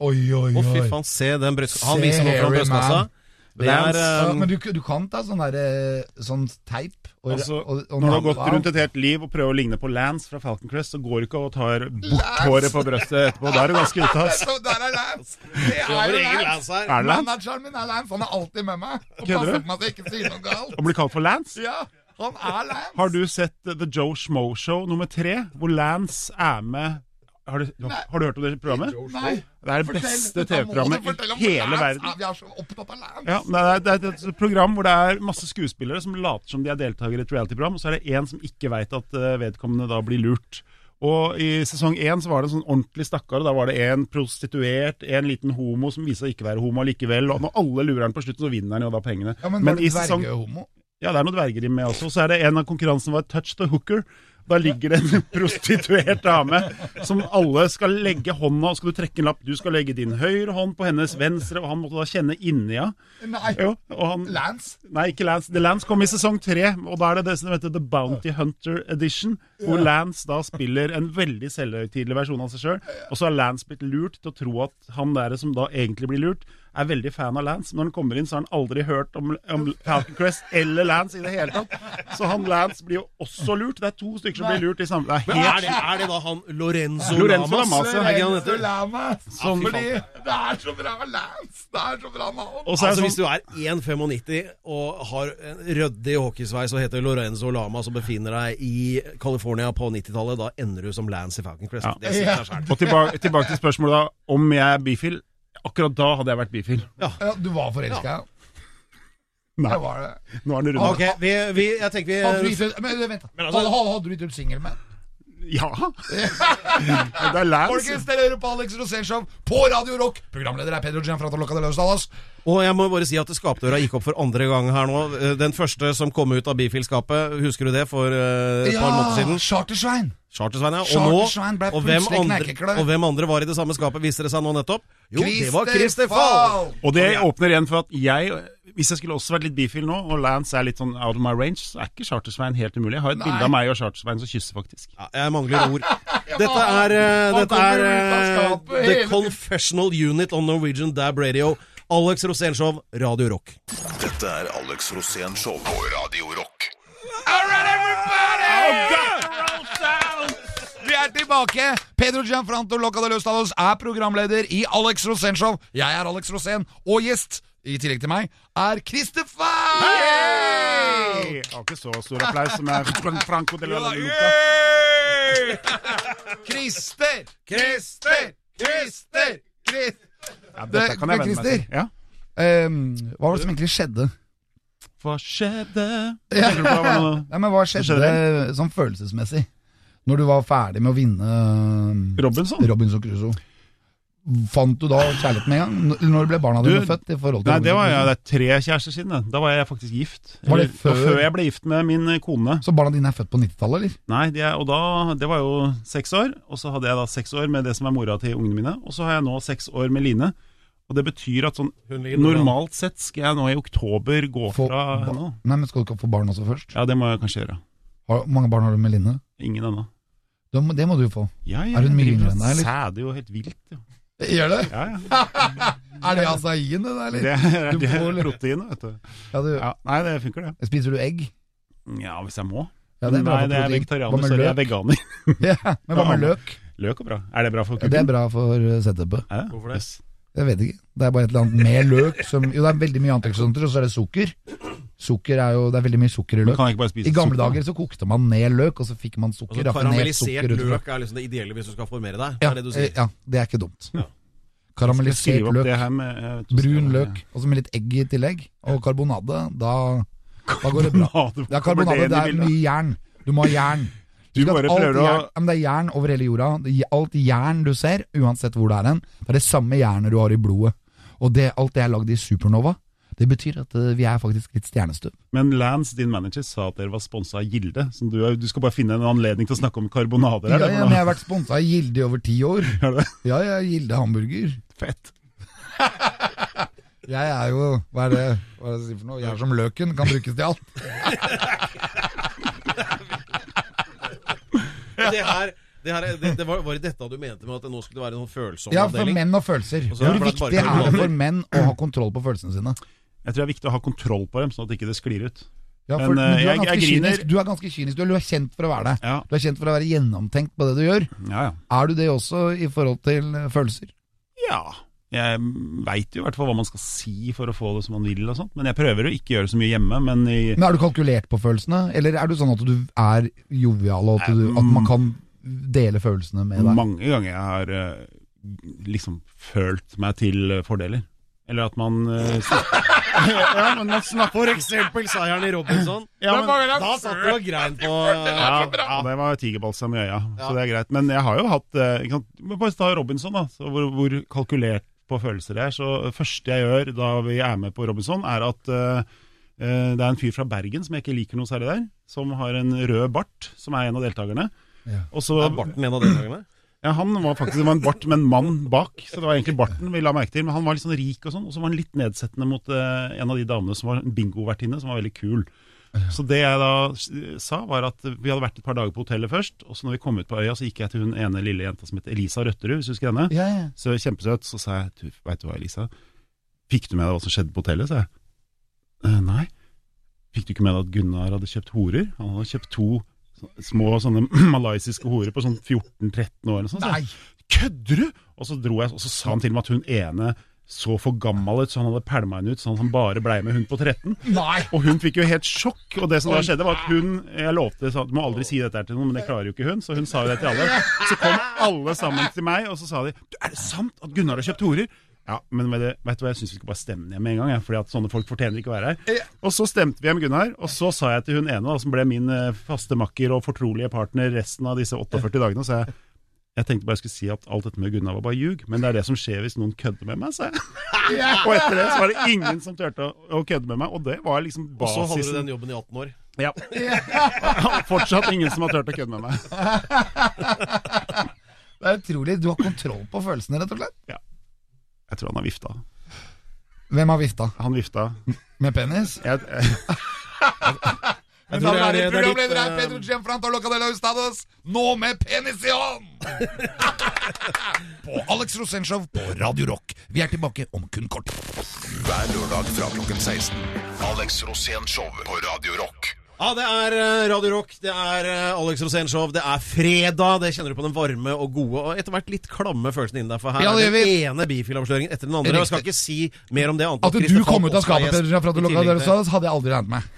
Speaker 1: Oi, oi,
Speaker 2: Å, fy
Speaker 1: oi.
Speaker 2: faen, se den brystkassa. Han
Speaker 1: Se
Speaker 2: viser nå fra
Speaker 1: hairy
Speaker 2: brystkassa.
Speaker 1: man.
Speaker 2: Det er
Speaker 1: Ja,
Speaker 2: eh,
Speaker 1: men du, du kan ta sånn, der, eh, sånn teip og,
Speaker 4: Altså,
Speaker 1: og, og
Speaker 4: Når du har
Speaker 1: nappe
Speaker 4: gått
Speaker 1: av.
Speaker 4: rundt et helt liv og prøver å ligne på Lance fra Falcon Crest, så går det ikke og tar bort håret på brøstet etterpå. Da er du ganske ute, altså.
Speaker 1: Så der er Lance! Det
Speaker 2: vi har
Speaker 1: er
Speaker 2: vår
Speaker 1: jo
Speaker 2: egen
Speaker 1: Lance!
Speaker 2: Lance her.
Speaker 4: Er det Lance?
Speaker 1: Manageren min er Lance, han er alltid med meg. Og
Speaker 4: Kødder
Speaker 1: passer
Speaker 4: du?
Speaker 1: på meg så jeg ikke sier noe galt.
Speaker 4: Å bli kalt for Lance?
Speaker 1: Ja, han er Lance.
Speaker 4: Har du sett eh, The Joe Schmo Show nummer tre, hvor Lance er med Har du, har du hørt om det programmet?
Speaker 1: Nei.
Speaker 4: Det er det
Speaker 1: fortell.
Speaker 4: beste
Speaker 1: Da må du
Speaker 4: TV-programmet
Speaker 1: fortelle om
Speaker 4: i hele
Speaker 1: Lance.
Speaker 4: verden.
Speaker 1: Ja, Vi er så opptatt av Lance.
Speaker 4: Ja, men det, er, det er et program hvor det er masse skuespillere som later som de er deltakere i et reality-program, og så er det én som ikke veit at eh, vedkommende da blir lurt. Og I sesong én så var det en sånn ordentlig stakkar. og Da var det en prostituert, en liten homo som viser seg ikke være homo likevel. Og når alle lurer han på slutten, så vinner han jo da pengene.
Speaker 1: Ja, men, var
Speaker 4: i
Speaker 1: det
Speaker 4: sesong
Speaker 1: dvergehomo?
Speaker 4: Ja, det er noen dverger i med også. Så er det en av konkurransen var Touch the Hooker. Da ligger det en prostituert dame som alle skal legge hånda, og skal du trekke en lapp. Du skal legge din høyre hånd på hennes venstre, og han måtte da kjenne inni henne.
Speaker 1: Nei,
Speaker 4: Jo, og han,
Speaker 1: Lance.
Speaker 4: nei, ikke Lance. The Lance kom i sesong tre, og da er det det som heter The Bounty Hunter Edition, hvor Lance da spiller en veldig selvhøytidelig versjon av seg sjøl. Og så har Lance blitt lurt til å tro at han der som da egentlig blir lurt, er veldig fan av Lance. Men når han kommer inn, så har han aldri hørt om, om Falcon Crest eller Lance i det hele tatt. Så han Lance blir jo også lurt. Det er to stykker som blir lurt i samme Det er
Speaker 2: Men er
Speaker 4: helt
Speaker 2: det, er det da han Lorenzo,
Speaker 4: Lorenzo
Speaker 2: Lamas?
Speaker 4: Lamas, ja.
Speaker 2: Er ikke han heter?
Speaker 1: Lance.
Speaker 4: sånn,
Speaker 1: Fordi det er så bra Lance. Det er så bra navn.
Speaker 4: Og så er
Speaker 2: Altså,
Speaker 4: det
Speaker 2: hvis
Speaker 4: sånn
Speaker 2: du er 1,95 og har en ryddig hockeysveis og heter Lorenzo Lama, som befinner deg i California på 90-tallet, da ender du som Lance i Falcon Crest.
Speaker 4: Ja.
Speaker 2: Det sier seg selv.
Speaker 4: Og tilbake, tilbake til spørsmålet da, om jeg er bifil. Akkurat da hadde jeg vært bifil.
Speaker 1: Ja, du var forelska, ja.
Speaker 4: Nei.
Speaker 1: Jeg var det.
Speaker 4: Nå er den runda.
Speaker 2: Ok, vi, vi, jeg tenker
Speaker 1: Hadde du
Speaker 2: vi
Speaker 1: gitt ut, men, vent, da.
Speaker 2: Men altså-
Speaker 1: hadde, hadde, hadde du gitt ut singel med?
Speaker 4: Ja. Det er Lance.
Speaker 1: Folkens, dere hører på Alex Rosénshow på Radio Rock. Programleder er Pedro Gianfranco Locca de Los Dallas.
Speaker 2: Og jeg må bare si at skapdøra gikk opp for andre gang her nå. Den første som kom ut av bifilskapet, husker du det, for eh, et par måneder siden?
Speaker 1: Chartersvein.
Speaker 2: Chartersvein, ja. Og,
Speaker 1: Chartersvein ble
Speaker 2: nå, og, hvem
Speaker 1: plutselig
Speaker 2: andre,
Speaker 1: knekkekløv.
Speaker 2: og hvem andre var i det samme skapet, viser det seg nå nettopp? Jo, det var Christer Fall!
Speaker 1: Fall.
Speaker 4: Og det åpner igjen for at jeg, hvis jeg skulle også vært litt bifil nå, og Lance er litt sånn out of my range, så er ikke Chartersvein helt umulig. Jeg har et
Speaker 1: Nei.
Speaker 4: bilde av meg og Chartersvein som kysser, faktisk.
Speaker 2: Ja, jeg mangler ord. Dette er, eh,
Speaker 1: Han
Speaker 2: dette
Speaker 1: kommer ut
Speaker 2: er
Speaker 1: av
Speaker 2: eh,
Speaker 1: skapet hele
Speaker 2: The
Speaker 1: tiden.
Speaker 2: Confessional Unit on Norwegian Dab Radio. Alex Rosénshow, Radio Rock.
Speaker 3: Dette er Alex Rosén Show på Radio Rock.
Speaker 1: Vi er tilbake! Pedro Gianfranco Locca de Los Dallas er programleder i Alex Rosénshow. Jeg er Alex Rosén, og gjest, i tillegg til meg, er Christer Fall!
Speaker 4: Jeg har ikke så stor applaus som jeg Franco de la la Luca.
Speaker 1: Christer! Christer! Christer! Christer! Eh,
Speaker 4: Ja, dette kan jeg
Speaker 1: Men
Speaker 4: vende meg til.
Speaker 1: Christer?
Speaker 4: Ja.
Speaker 1: Ehm, hva var det som egentlig skjedde?
Speaker 4: Hva skjedde?
Speaker 1: Ja.
Speaker 4: Tenker du på hva nå?
Speaker 1: Nei, men Hva skjedde
Speaker 4: skjedde?
Speaker 1: sånn følelsesmessig når du var ferdig med å vinne ehm,
Speaker 4: Robinson?
Speaker 1: Robinson Crusoe? Fant du da kjærlighet med en gang? N- Når ble barna dine
Speaker 4: Du-
Speaker 1: født? i forhold til
Speaker 4: Nei, det var jeg,
Speaker 1: Robinson
Speaker 4: det er tre kjærester siden. det. Da var jeg faktisk gift.
Speaker 1: Var det
Speaker 4: Eller-
Speaker 1: før?
Speaker 4: Og før jeg ble gift med min kone.
Speaker 1: Crusoe? Så barna dine er født på 90-tallet, eller?
Speaker 4: Nei, de er, og da, det var jo seks år, og så hadde jeg da seks år med det som er mora til ungene mine, og så har jeg nå seks år med Line. Og det betyr at sånn
Speaker 2: Hun ligger nå
Speaker 4: normalt sett skal jeg nå i oktober gå
Speaker 1: Få-
Speaker 4: fra
Speaker 1: ba-
Speaker 4: henne.
Speaker 1: Nei, men Skal du ikke få barn også først?
Speaker 4: Ja, det må jeg kanskje gjøre.
Speaker 1: Har, hvor mange barn har du med Line?
Speaker 4: Ingen ennå.
Speaker 1: Du, må- det må du jo få.
Speaker 4: Ja,
Speaker 1: Er hun mye
Speaker 4: driver og
Speaker 1: yngre enn deg, eller?
Speaker 4: Sæder jo helt vilt. Jo.
Speaker 1: Gjør det?
Speaker 4: Ja, ja.
Speaker 1: Er det asaien, det der, eller?
Speaker 4: Det er,
Speaker 1: Du
Speaker 4: det
Speaker 1: får
Speaker 4: er
Speaker 1: litt-
Speaker 4: proteinet, vet du.
Speaker 1: Ja, du,
Speaker 4: Ja, nei, det funker, det.
Speaker 1: Spiser du egg?
Speaker 4: Ja, hvis jeg må.
Speaker 1: Ja, det er bra
Speaker 4: nei,
Speaker 1: for protein.
Speaker 4: det er
Speaker 1: Hva
Speaker 4: vegetarianer,
Speaker 1: med
Speaker 4: sorry, jeg er
Speaker 1: løk?
Speaker 4: veganer.
Speaker 1: Ja, men hva med løk?
Speaker 4: Løk er bra. Er det bra for
Speaker 1: Ja,
Speaker 4: kukken?
Speaker 1: det er bra for eh, setupet.
Speaker 4: Er det?
Speaker 2: Hvorfor det?
Speaker 4: Yes.
Speaker 1: Jeg vet ikke. Det er bare et eller annet med løk som Jo, det er veldig mye antioksidanter, og så er det sukker. Sukker er jo Det er veldig mye sukker i
Speaker 4: Men
Speaker 1: løk.
Speaker 4: kan jeg ikke bare spise
Speaker 1: I gamle
Speaker 4: sukker, da?
Speaker 1: dager så kokte man ned løk, og så fikk man
Speaker 2: Altså,
Speaker 1: sukker. raffinert
Speaker 2: karamellisert
Speaker 1: sukker ut fra-
Speaker 2: løk er liksom det ideelle hvis du skal formere deg.
Speaker 1: Ja,
Speaker 2: er det du
Speaker 1: eh,
Speaker 2: sier.
Speaker 1: ja, det er ikke dumt.
Speaker 2: Ja.
Speaker 1: Karamellisert
Speaker 4: Skriv opp
Speaker 1: løk,
Speaker 4: det her med eh, to
Speaker 1: brun
Speaker 4: steder.
Speaker 1: løk, og så med litt egg i tillegg, og karbonade. Da, da går det bra.
Speaker 4: Karbonade,
Speaker 1: Det
Speaker 4: hvor
Speaker 1: er
Speaker 4: kommer det
Speaker 1: karbonade,
Speaker 4: inn i
Speaker 1: det er
Speaker 4: bildet?
Speaker 1: mye jern. Du må ha jern.
Speaker 4: Du
Speaker 1: Husk at
Speaker 4: bare
Speaker 1: alt
Speaker 4: prøver å-
Speaker 1: jern, ja, men Det er jern over hele jorda. Det- Alt jern du ser, uansett hvor det er hen, det er det samme jernet du har i blodet. Og det, alt det er lagd i supernova. Det betyr at eh, vi er faktisk litt stjernestøv.
Speaker 4: Men Lance, din manager, sa at dere var sponsa av Gilde. Så du, er- du skal bare finne en anledning til å snakke om karbonader
Speaker 1: Ja,
Speaker 4: her. da,
Speaker 1: ja, men
Speaker 4: for nå-
Speaker 1: jeg har vært sponsa av Gilde i over ti år.
Speaker 4: Er det
Speaker 1: Ja, ja, Gilde hamburger.
Speaker 4: fett?
Speaker 1: Jeg er jo Hva er det hva er det jeg sier for noe? Jeg er som løken, kan brukes til alt. Eh,
Speaker 2: Det, her, det, her, det, det var, var det dette du mente med at det nå skulle være en sånn følsom
Speaker 1: Ja, for
Speaker 2: avdeling?
Speaker 1: menn og følelser.
Speaker 2: så er
Speaker 1: Hvor
Speaker 2: det bare-
Speaker 1: viktig er det for menn å ha kontroll på følelsene sine?
Speaker 4: Jeg tror det er viktig å ha kontroll på dem, sånn at ikke det sklir ut.
Speaker 1: Ja,
Speaker 4: Men,
Speaker 1: for, men du,
Speaker 4: eh,
Speaker 1: er
Speaker 4: jeg- jeg
Speaker 1: ganske
Speaker 4: griner.
Speaker 1: kynisk. du er ganske kynisk. Du er, du er kjent for å være det.
Speaker 4: Ja,
Speaker 1: Du er kjent for å være gjennomtenkt på det du gjør.
Speaker 4: ja. ja.
Speaker 1: Er du det også i forhold til eh, følelser?
Speaker 4: ja. Jeg veit jo i hvert fall hva man skal si for å få det som man vil og sånt, men jeg prøver å ikke gjøre så mye hjemme. Men i,
Speaker 1: Men Er du kalkulert på følelsene, eller er du sånn at du er jovial, og at, du, at man kan dele følelsene med deg?
Speaker 4: mange ganger jeg har eh, liksom følt meg til eh, fordeler. Eller at man eh, snakker Ja, men man snakker
Speaker 2: For eksempel seieren i Robinson.
Speaker 4: ja, men,
Speaker 2: Da satt du og grein på
Speaker 4: Ja, ja, det var tigerbalsam i øya,
Speaker 2: Ja.
Speaker 4: så det er greit. Men jeg har jo hatt eh, ikke sant? Men Bare ta Robinson, da. Så hvor, hvor kalkulert på følelser det er. Så det første jeg gjør da vi er med på Robinson, er at eh, eh, det er en fyr fra Bergen som jeg ikke liker noe særlig der, som har en rød bart, som er en av deltakerne.
Speaker 1: Ja.
Speaker 4: Og så,
Speaker 2: Er eh, barten en av deltakerne?
Speaker 4: ja, han var faktisk det var en bart med en mann bak, så det var egentlig barten vi la merke til. Men han var litt sånn rik og sånn, og så var han litt nedsettende mot eh, en av de damene som var en bingovertinne, som var veldig kul. Så det jeg da s- sa, var at vi hadde vært et par dager på hotellet først, og så når vi kom ut på øya, så gikk jeg til hun ene lille jenta som het Elisa Røtterud, hvis du husker henne.
Speaker 1: Ja, ja.
Speaker 4: Så kjempesøt, så sa jeg, du, vet du hva Elisa, fikk du med deg hva som skjedde på hotellet, sa jeg. «Eh, nei. Fikk du ikke med deg at Gunnar hadde kjøpt horer? Han hadde kjøpt to så- små sånne malaysiske horer på sånn 14-13 år eller sånn. sa jeg.
Speaker 1: Nei!
Speaker 4: Kødder du?! Og så dro jeg, og så sa han til meg at hun ene så for gammel ut, så han hadde pælma henne ut sånn at han bare blei med hun på 13.
Speaker 1: Nei!
Speaker 4: Og hun fikk jo helt sjokk, og det som da skjedde var at hun Jeg lovte sa, at du må aldri si dette her til noen, men det klarer jo ikke hun, så hun sa jo det til alle. Så kom alle sammen til meg, og så sa de du, Er det sant at Gunnar har kjøpt horer? Ja, men vet du, vet du hva, jeg syns vi skal bare stemme ned med en gang, jeg, fordi at sånne folk fortjener ikke å være her. Og så stemte vi hjem Gunnar, og så sa jeg til hun ene, da, som ble min eh, faste makker og fortrolige partner resten av disse 48 dagene, så jeg jeg tenkte bare jeg skulle si at alt dette med Gunnar var bare ljug, men det er det som skjer hvis noen kødder med meg, sa jeg. Og etter det så var det ingen som turte å, å kødde med meg, og det var liksom
Speaker 2: Og så hadde du
Speaker 4: basisen.
Speaker 2: den jobben i 18 år.
Speaker 4: Ja. Og Fortsatt ingen som har turt å kødde med meg.
Speaker 1: Det er utrolig. Du har kontroll på følelsene, rett og slett.
Speaker 4: Jeg tror han har vifta.
Speaker 1: Hvem har vifta?
Speaker 4: Han vifta.
Speaker 1: Med penis?
Speaker 4: Jeg, jeg,
Speaker 2: Jeg tror det er- det er ditt, eh,
Speaker 1: Gianfranto Locadella Ustados, nå med penis i hånd! på Alex Rosenshov på Radio Rock. Vi er tilbake om kun kort.
Speaker 3: Hver lørdag fra klokken 16. Alex Rosén Show på Radio Rock.
Speaker 2: Ja, det er eh, Radio Rock, det er eh, Alex Rosén Show, det er fredag. Det kjenner du på den varme og gode og etter hvert litt klamme følelsen inni deg. For her
Speaker 1: Ja, det
Speaker 2: er
Speaker 1: gjør
Speaker 2: den
Speaker 1: vi.
Speaker 2: ene bifil-avsløringen etter den andre. Og jeg skal
Speaker 1: Riktig.
Speaker 2: ikke si mer om det annet enn
Speaker 1: At du
Speaker 2: Christer
Speaker 1: kom ut av
Speaker 2: Falk også er
Speaker 1: skapet,
Speaker 2: gjest
Speaker 1: Peder Gianfranto
Speaker 2: i tillegg
Speaker 1: Locadella
Speaker 2: til-
Speaker 1: Ustados, hadde jeg aldri regnet med.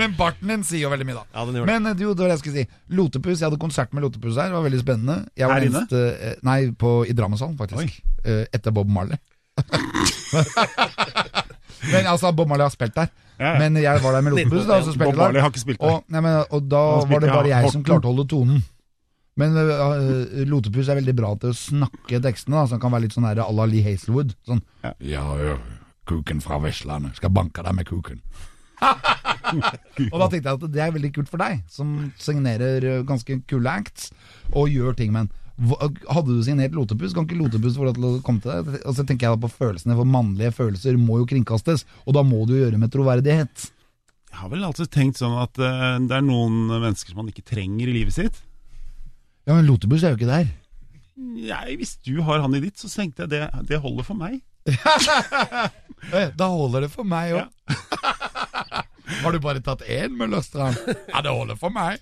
Speaker 1: Men barten din sier jo veldig mye, da.
Speaker 2: Ja, den gjør det.
Speaker 1: Men eh, jo, det var det jeg skulle si. Lotepus, jeg hadde konsert med Lotepus her. Det var veldig spennende. Jeg var
Speaker 4: Her inne?
Speaker 1: eneste, eh, nei, på, i Drammenshallen, faktisk. Eh, Etter Bob Marley. men altså, Bob Marley har spilt der.
Speaker 4: Ja, ja.
Speaker 1: Men jeg var der med Lotepus, da, og så spilte
Speaker 4: Bob
Speaker 1: jeg der.
Speaker 4: Marley har ikke spilt der.
Speaker 1: Og, nei, men, og da
Speaker 4: Han spilte
Speaker 1: var det bare
Speaker 4: i
Speaker 1: jeg som
Speaker 4: Horten.
Speaker 1: klarte å holde tonen. Men øh, øh, Lotepus er veldig bra til å snakke tekstene, da, så han kan være litt sånn her à la Lee Hazelwood. Sånn
Speaker 4: Ja.
Speaker 1: Ja, ja, kuken fra Vestlandet, skal banke deg med kuken. og da tenkte jeg at det er veldig kult for deg, som signerer øh, ganske kule acts og gjør ting med en. Hva- Hadde du signert Lotepus, kan ikke Lotepus få lov til å komme til deg? Og så tenker jeg da på følelsene, for mannlige følelser må jo kringkastes, og da må du jo gjøre med troverdighet.
Speaker 4: jeg har vel alltid tenkt sånn at eh, det er noen mennesker som man ikke trenger i livet sitt.
Speaker 1: Ja, men Lotepus er jo ikke der.
Speaker 4: Nei, hvis du har han i ditt, så tenkte jeg det, det holder for meg.
Speaker 1: Eh, Da holder det for meg òg. Har du bare tatt én med Løstrand? Ja, det holder for meg.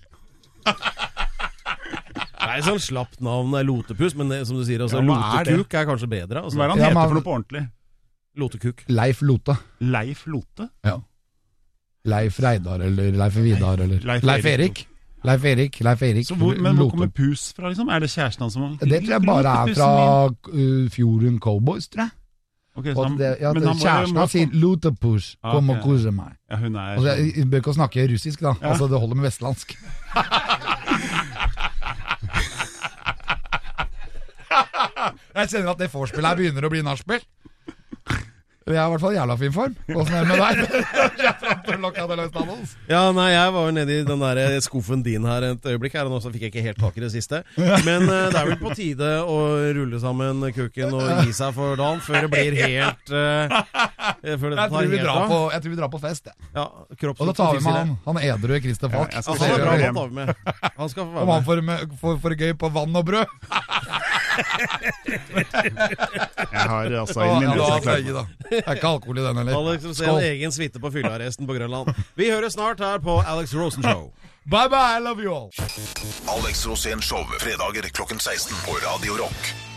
Speaker 2: Det er sånn slapt navn, det er lotepus, men det, som du sier, altså,
Speaker 4: Ja, hva er det?
Speaker 2: lotekuk er kanskje bedre.
Speaker 4: Hva er
Speaker 2: Altså.
Speaker 4: det han
Speaker 1: Ja,
Speaker 4: heter
Speaker 1: men-
Speaker 4: for noe på ordentlig?
Speaker 2: Lotekuk.
Speaker 1: Leif Lote.
Speaker 4: Leif Lote?
Speaker 1: Ja. Leif Reidar eller Leif Vidar eller
Speaker 4: Leif
Speaker 1: Leif
Speaker 4: Erik.
Speaker 1: Erik. Leif Erik, Leif Erik.
Speaker 4: Så hvor, men hvor
Speaker 1: Lote.
Speaker 4: kommer Pus fra, liksom? Er det kjæresten hans som
Speaker 1: Det tror jeg bare er fra uh, fjorden Cowboys, tror jeg.
Speaker 4: Ok, så
Speaker 1: Og
Speaker 4: han-
Speaker 1: det, ja,
Speaker 4: men han må jo-
Speaker 1: kjæresten
Speaker 4: må-
Speaker 1: hans sier 'Lutepus,
Speaker 4: Ja,
Speaker 1: kom
Speaker 4: ok.
Speaker 1: og kose meg'.
Speaker 4: Ja, hun er
Speaker 1: Altså, jeg jeg bør ikke å snakke russisk, da.
Speaker 4: Ja.
Speaker 1: Altså, Det holder med vestlandsk. jeg kjenner at det vorspielet her begynner å bli nachspiel. Jeg er i hvert fall i jævla fin form. Åssen er det med deg? Jeg er frem til å lokke av det løs, Donalds.
Speaker 2: Ja, nei, jeg var jo nedi den der eh, skuffen din her et øyeblikk, her, og nå så fikk jeg ikke helt tak i det siste. Men eh, det er vel på tide å rulle sammen kuken og gi seg for dagen før det blir helt eh, Før det
Speaker 1: jeg, tror
Speaker 2: tar
Speaker 1: vi
Speaker 2: helt
Speaker 1: drar
Speaker 2: av.
Speaker 1: på, jeg tror vi drar på fest. jeg.
Speaker 2: Ja, kropp
Speaker 1: Og da tar vi med han, han edru Christer Falk.
Speaker 2: Ja,
Speaker 4: Ja, jeg
Speaker 1: Så
Speaker 4: skal
Speaker 2: han
Speaker 1: ser
Speaker 2: er
Speaker 1: vi hva-
Speaker 2: bra, han tar vi med. Han skal få
Speaker 1: Om
Speaker 2: være
Speaker 1: han
Speaker 2: med.
Speaker 1: får, med- får, får gøy på vann og brød.
Speaker 4: Jeg har altså
Speaker 1: Å,
Speaker 4: inn min
Speaker 1: ja, da,
Speaker 4: bror.
Speaker 1: det er ikke da. Det er ikke alkohol i den heller.
Speaker 2: Alex Rosén, egen suite på fyllearresten på Grønland. Vi høres snart her på Alex Rosen Show.
Speaker 1: Bye bye, I love you all.
Speaker 3: Alex Rosén Show, fredager klokken 16 på Radio Rock.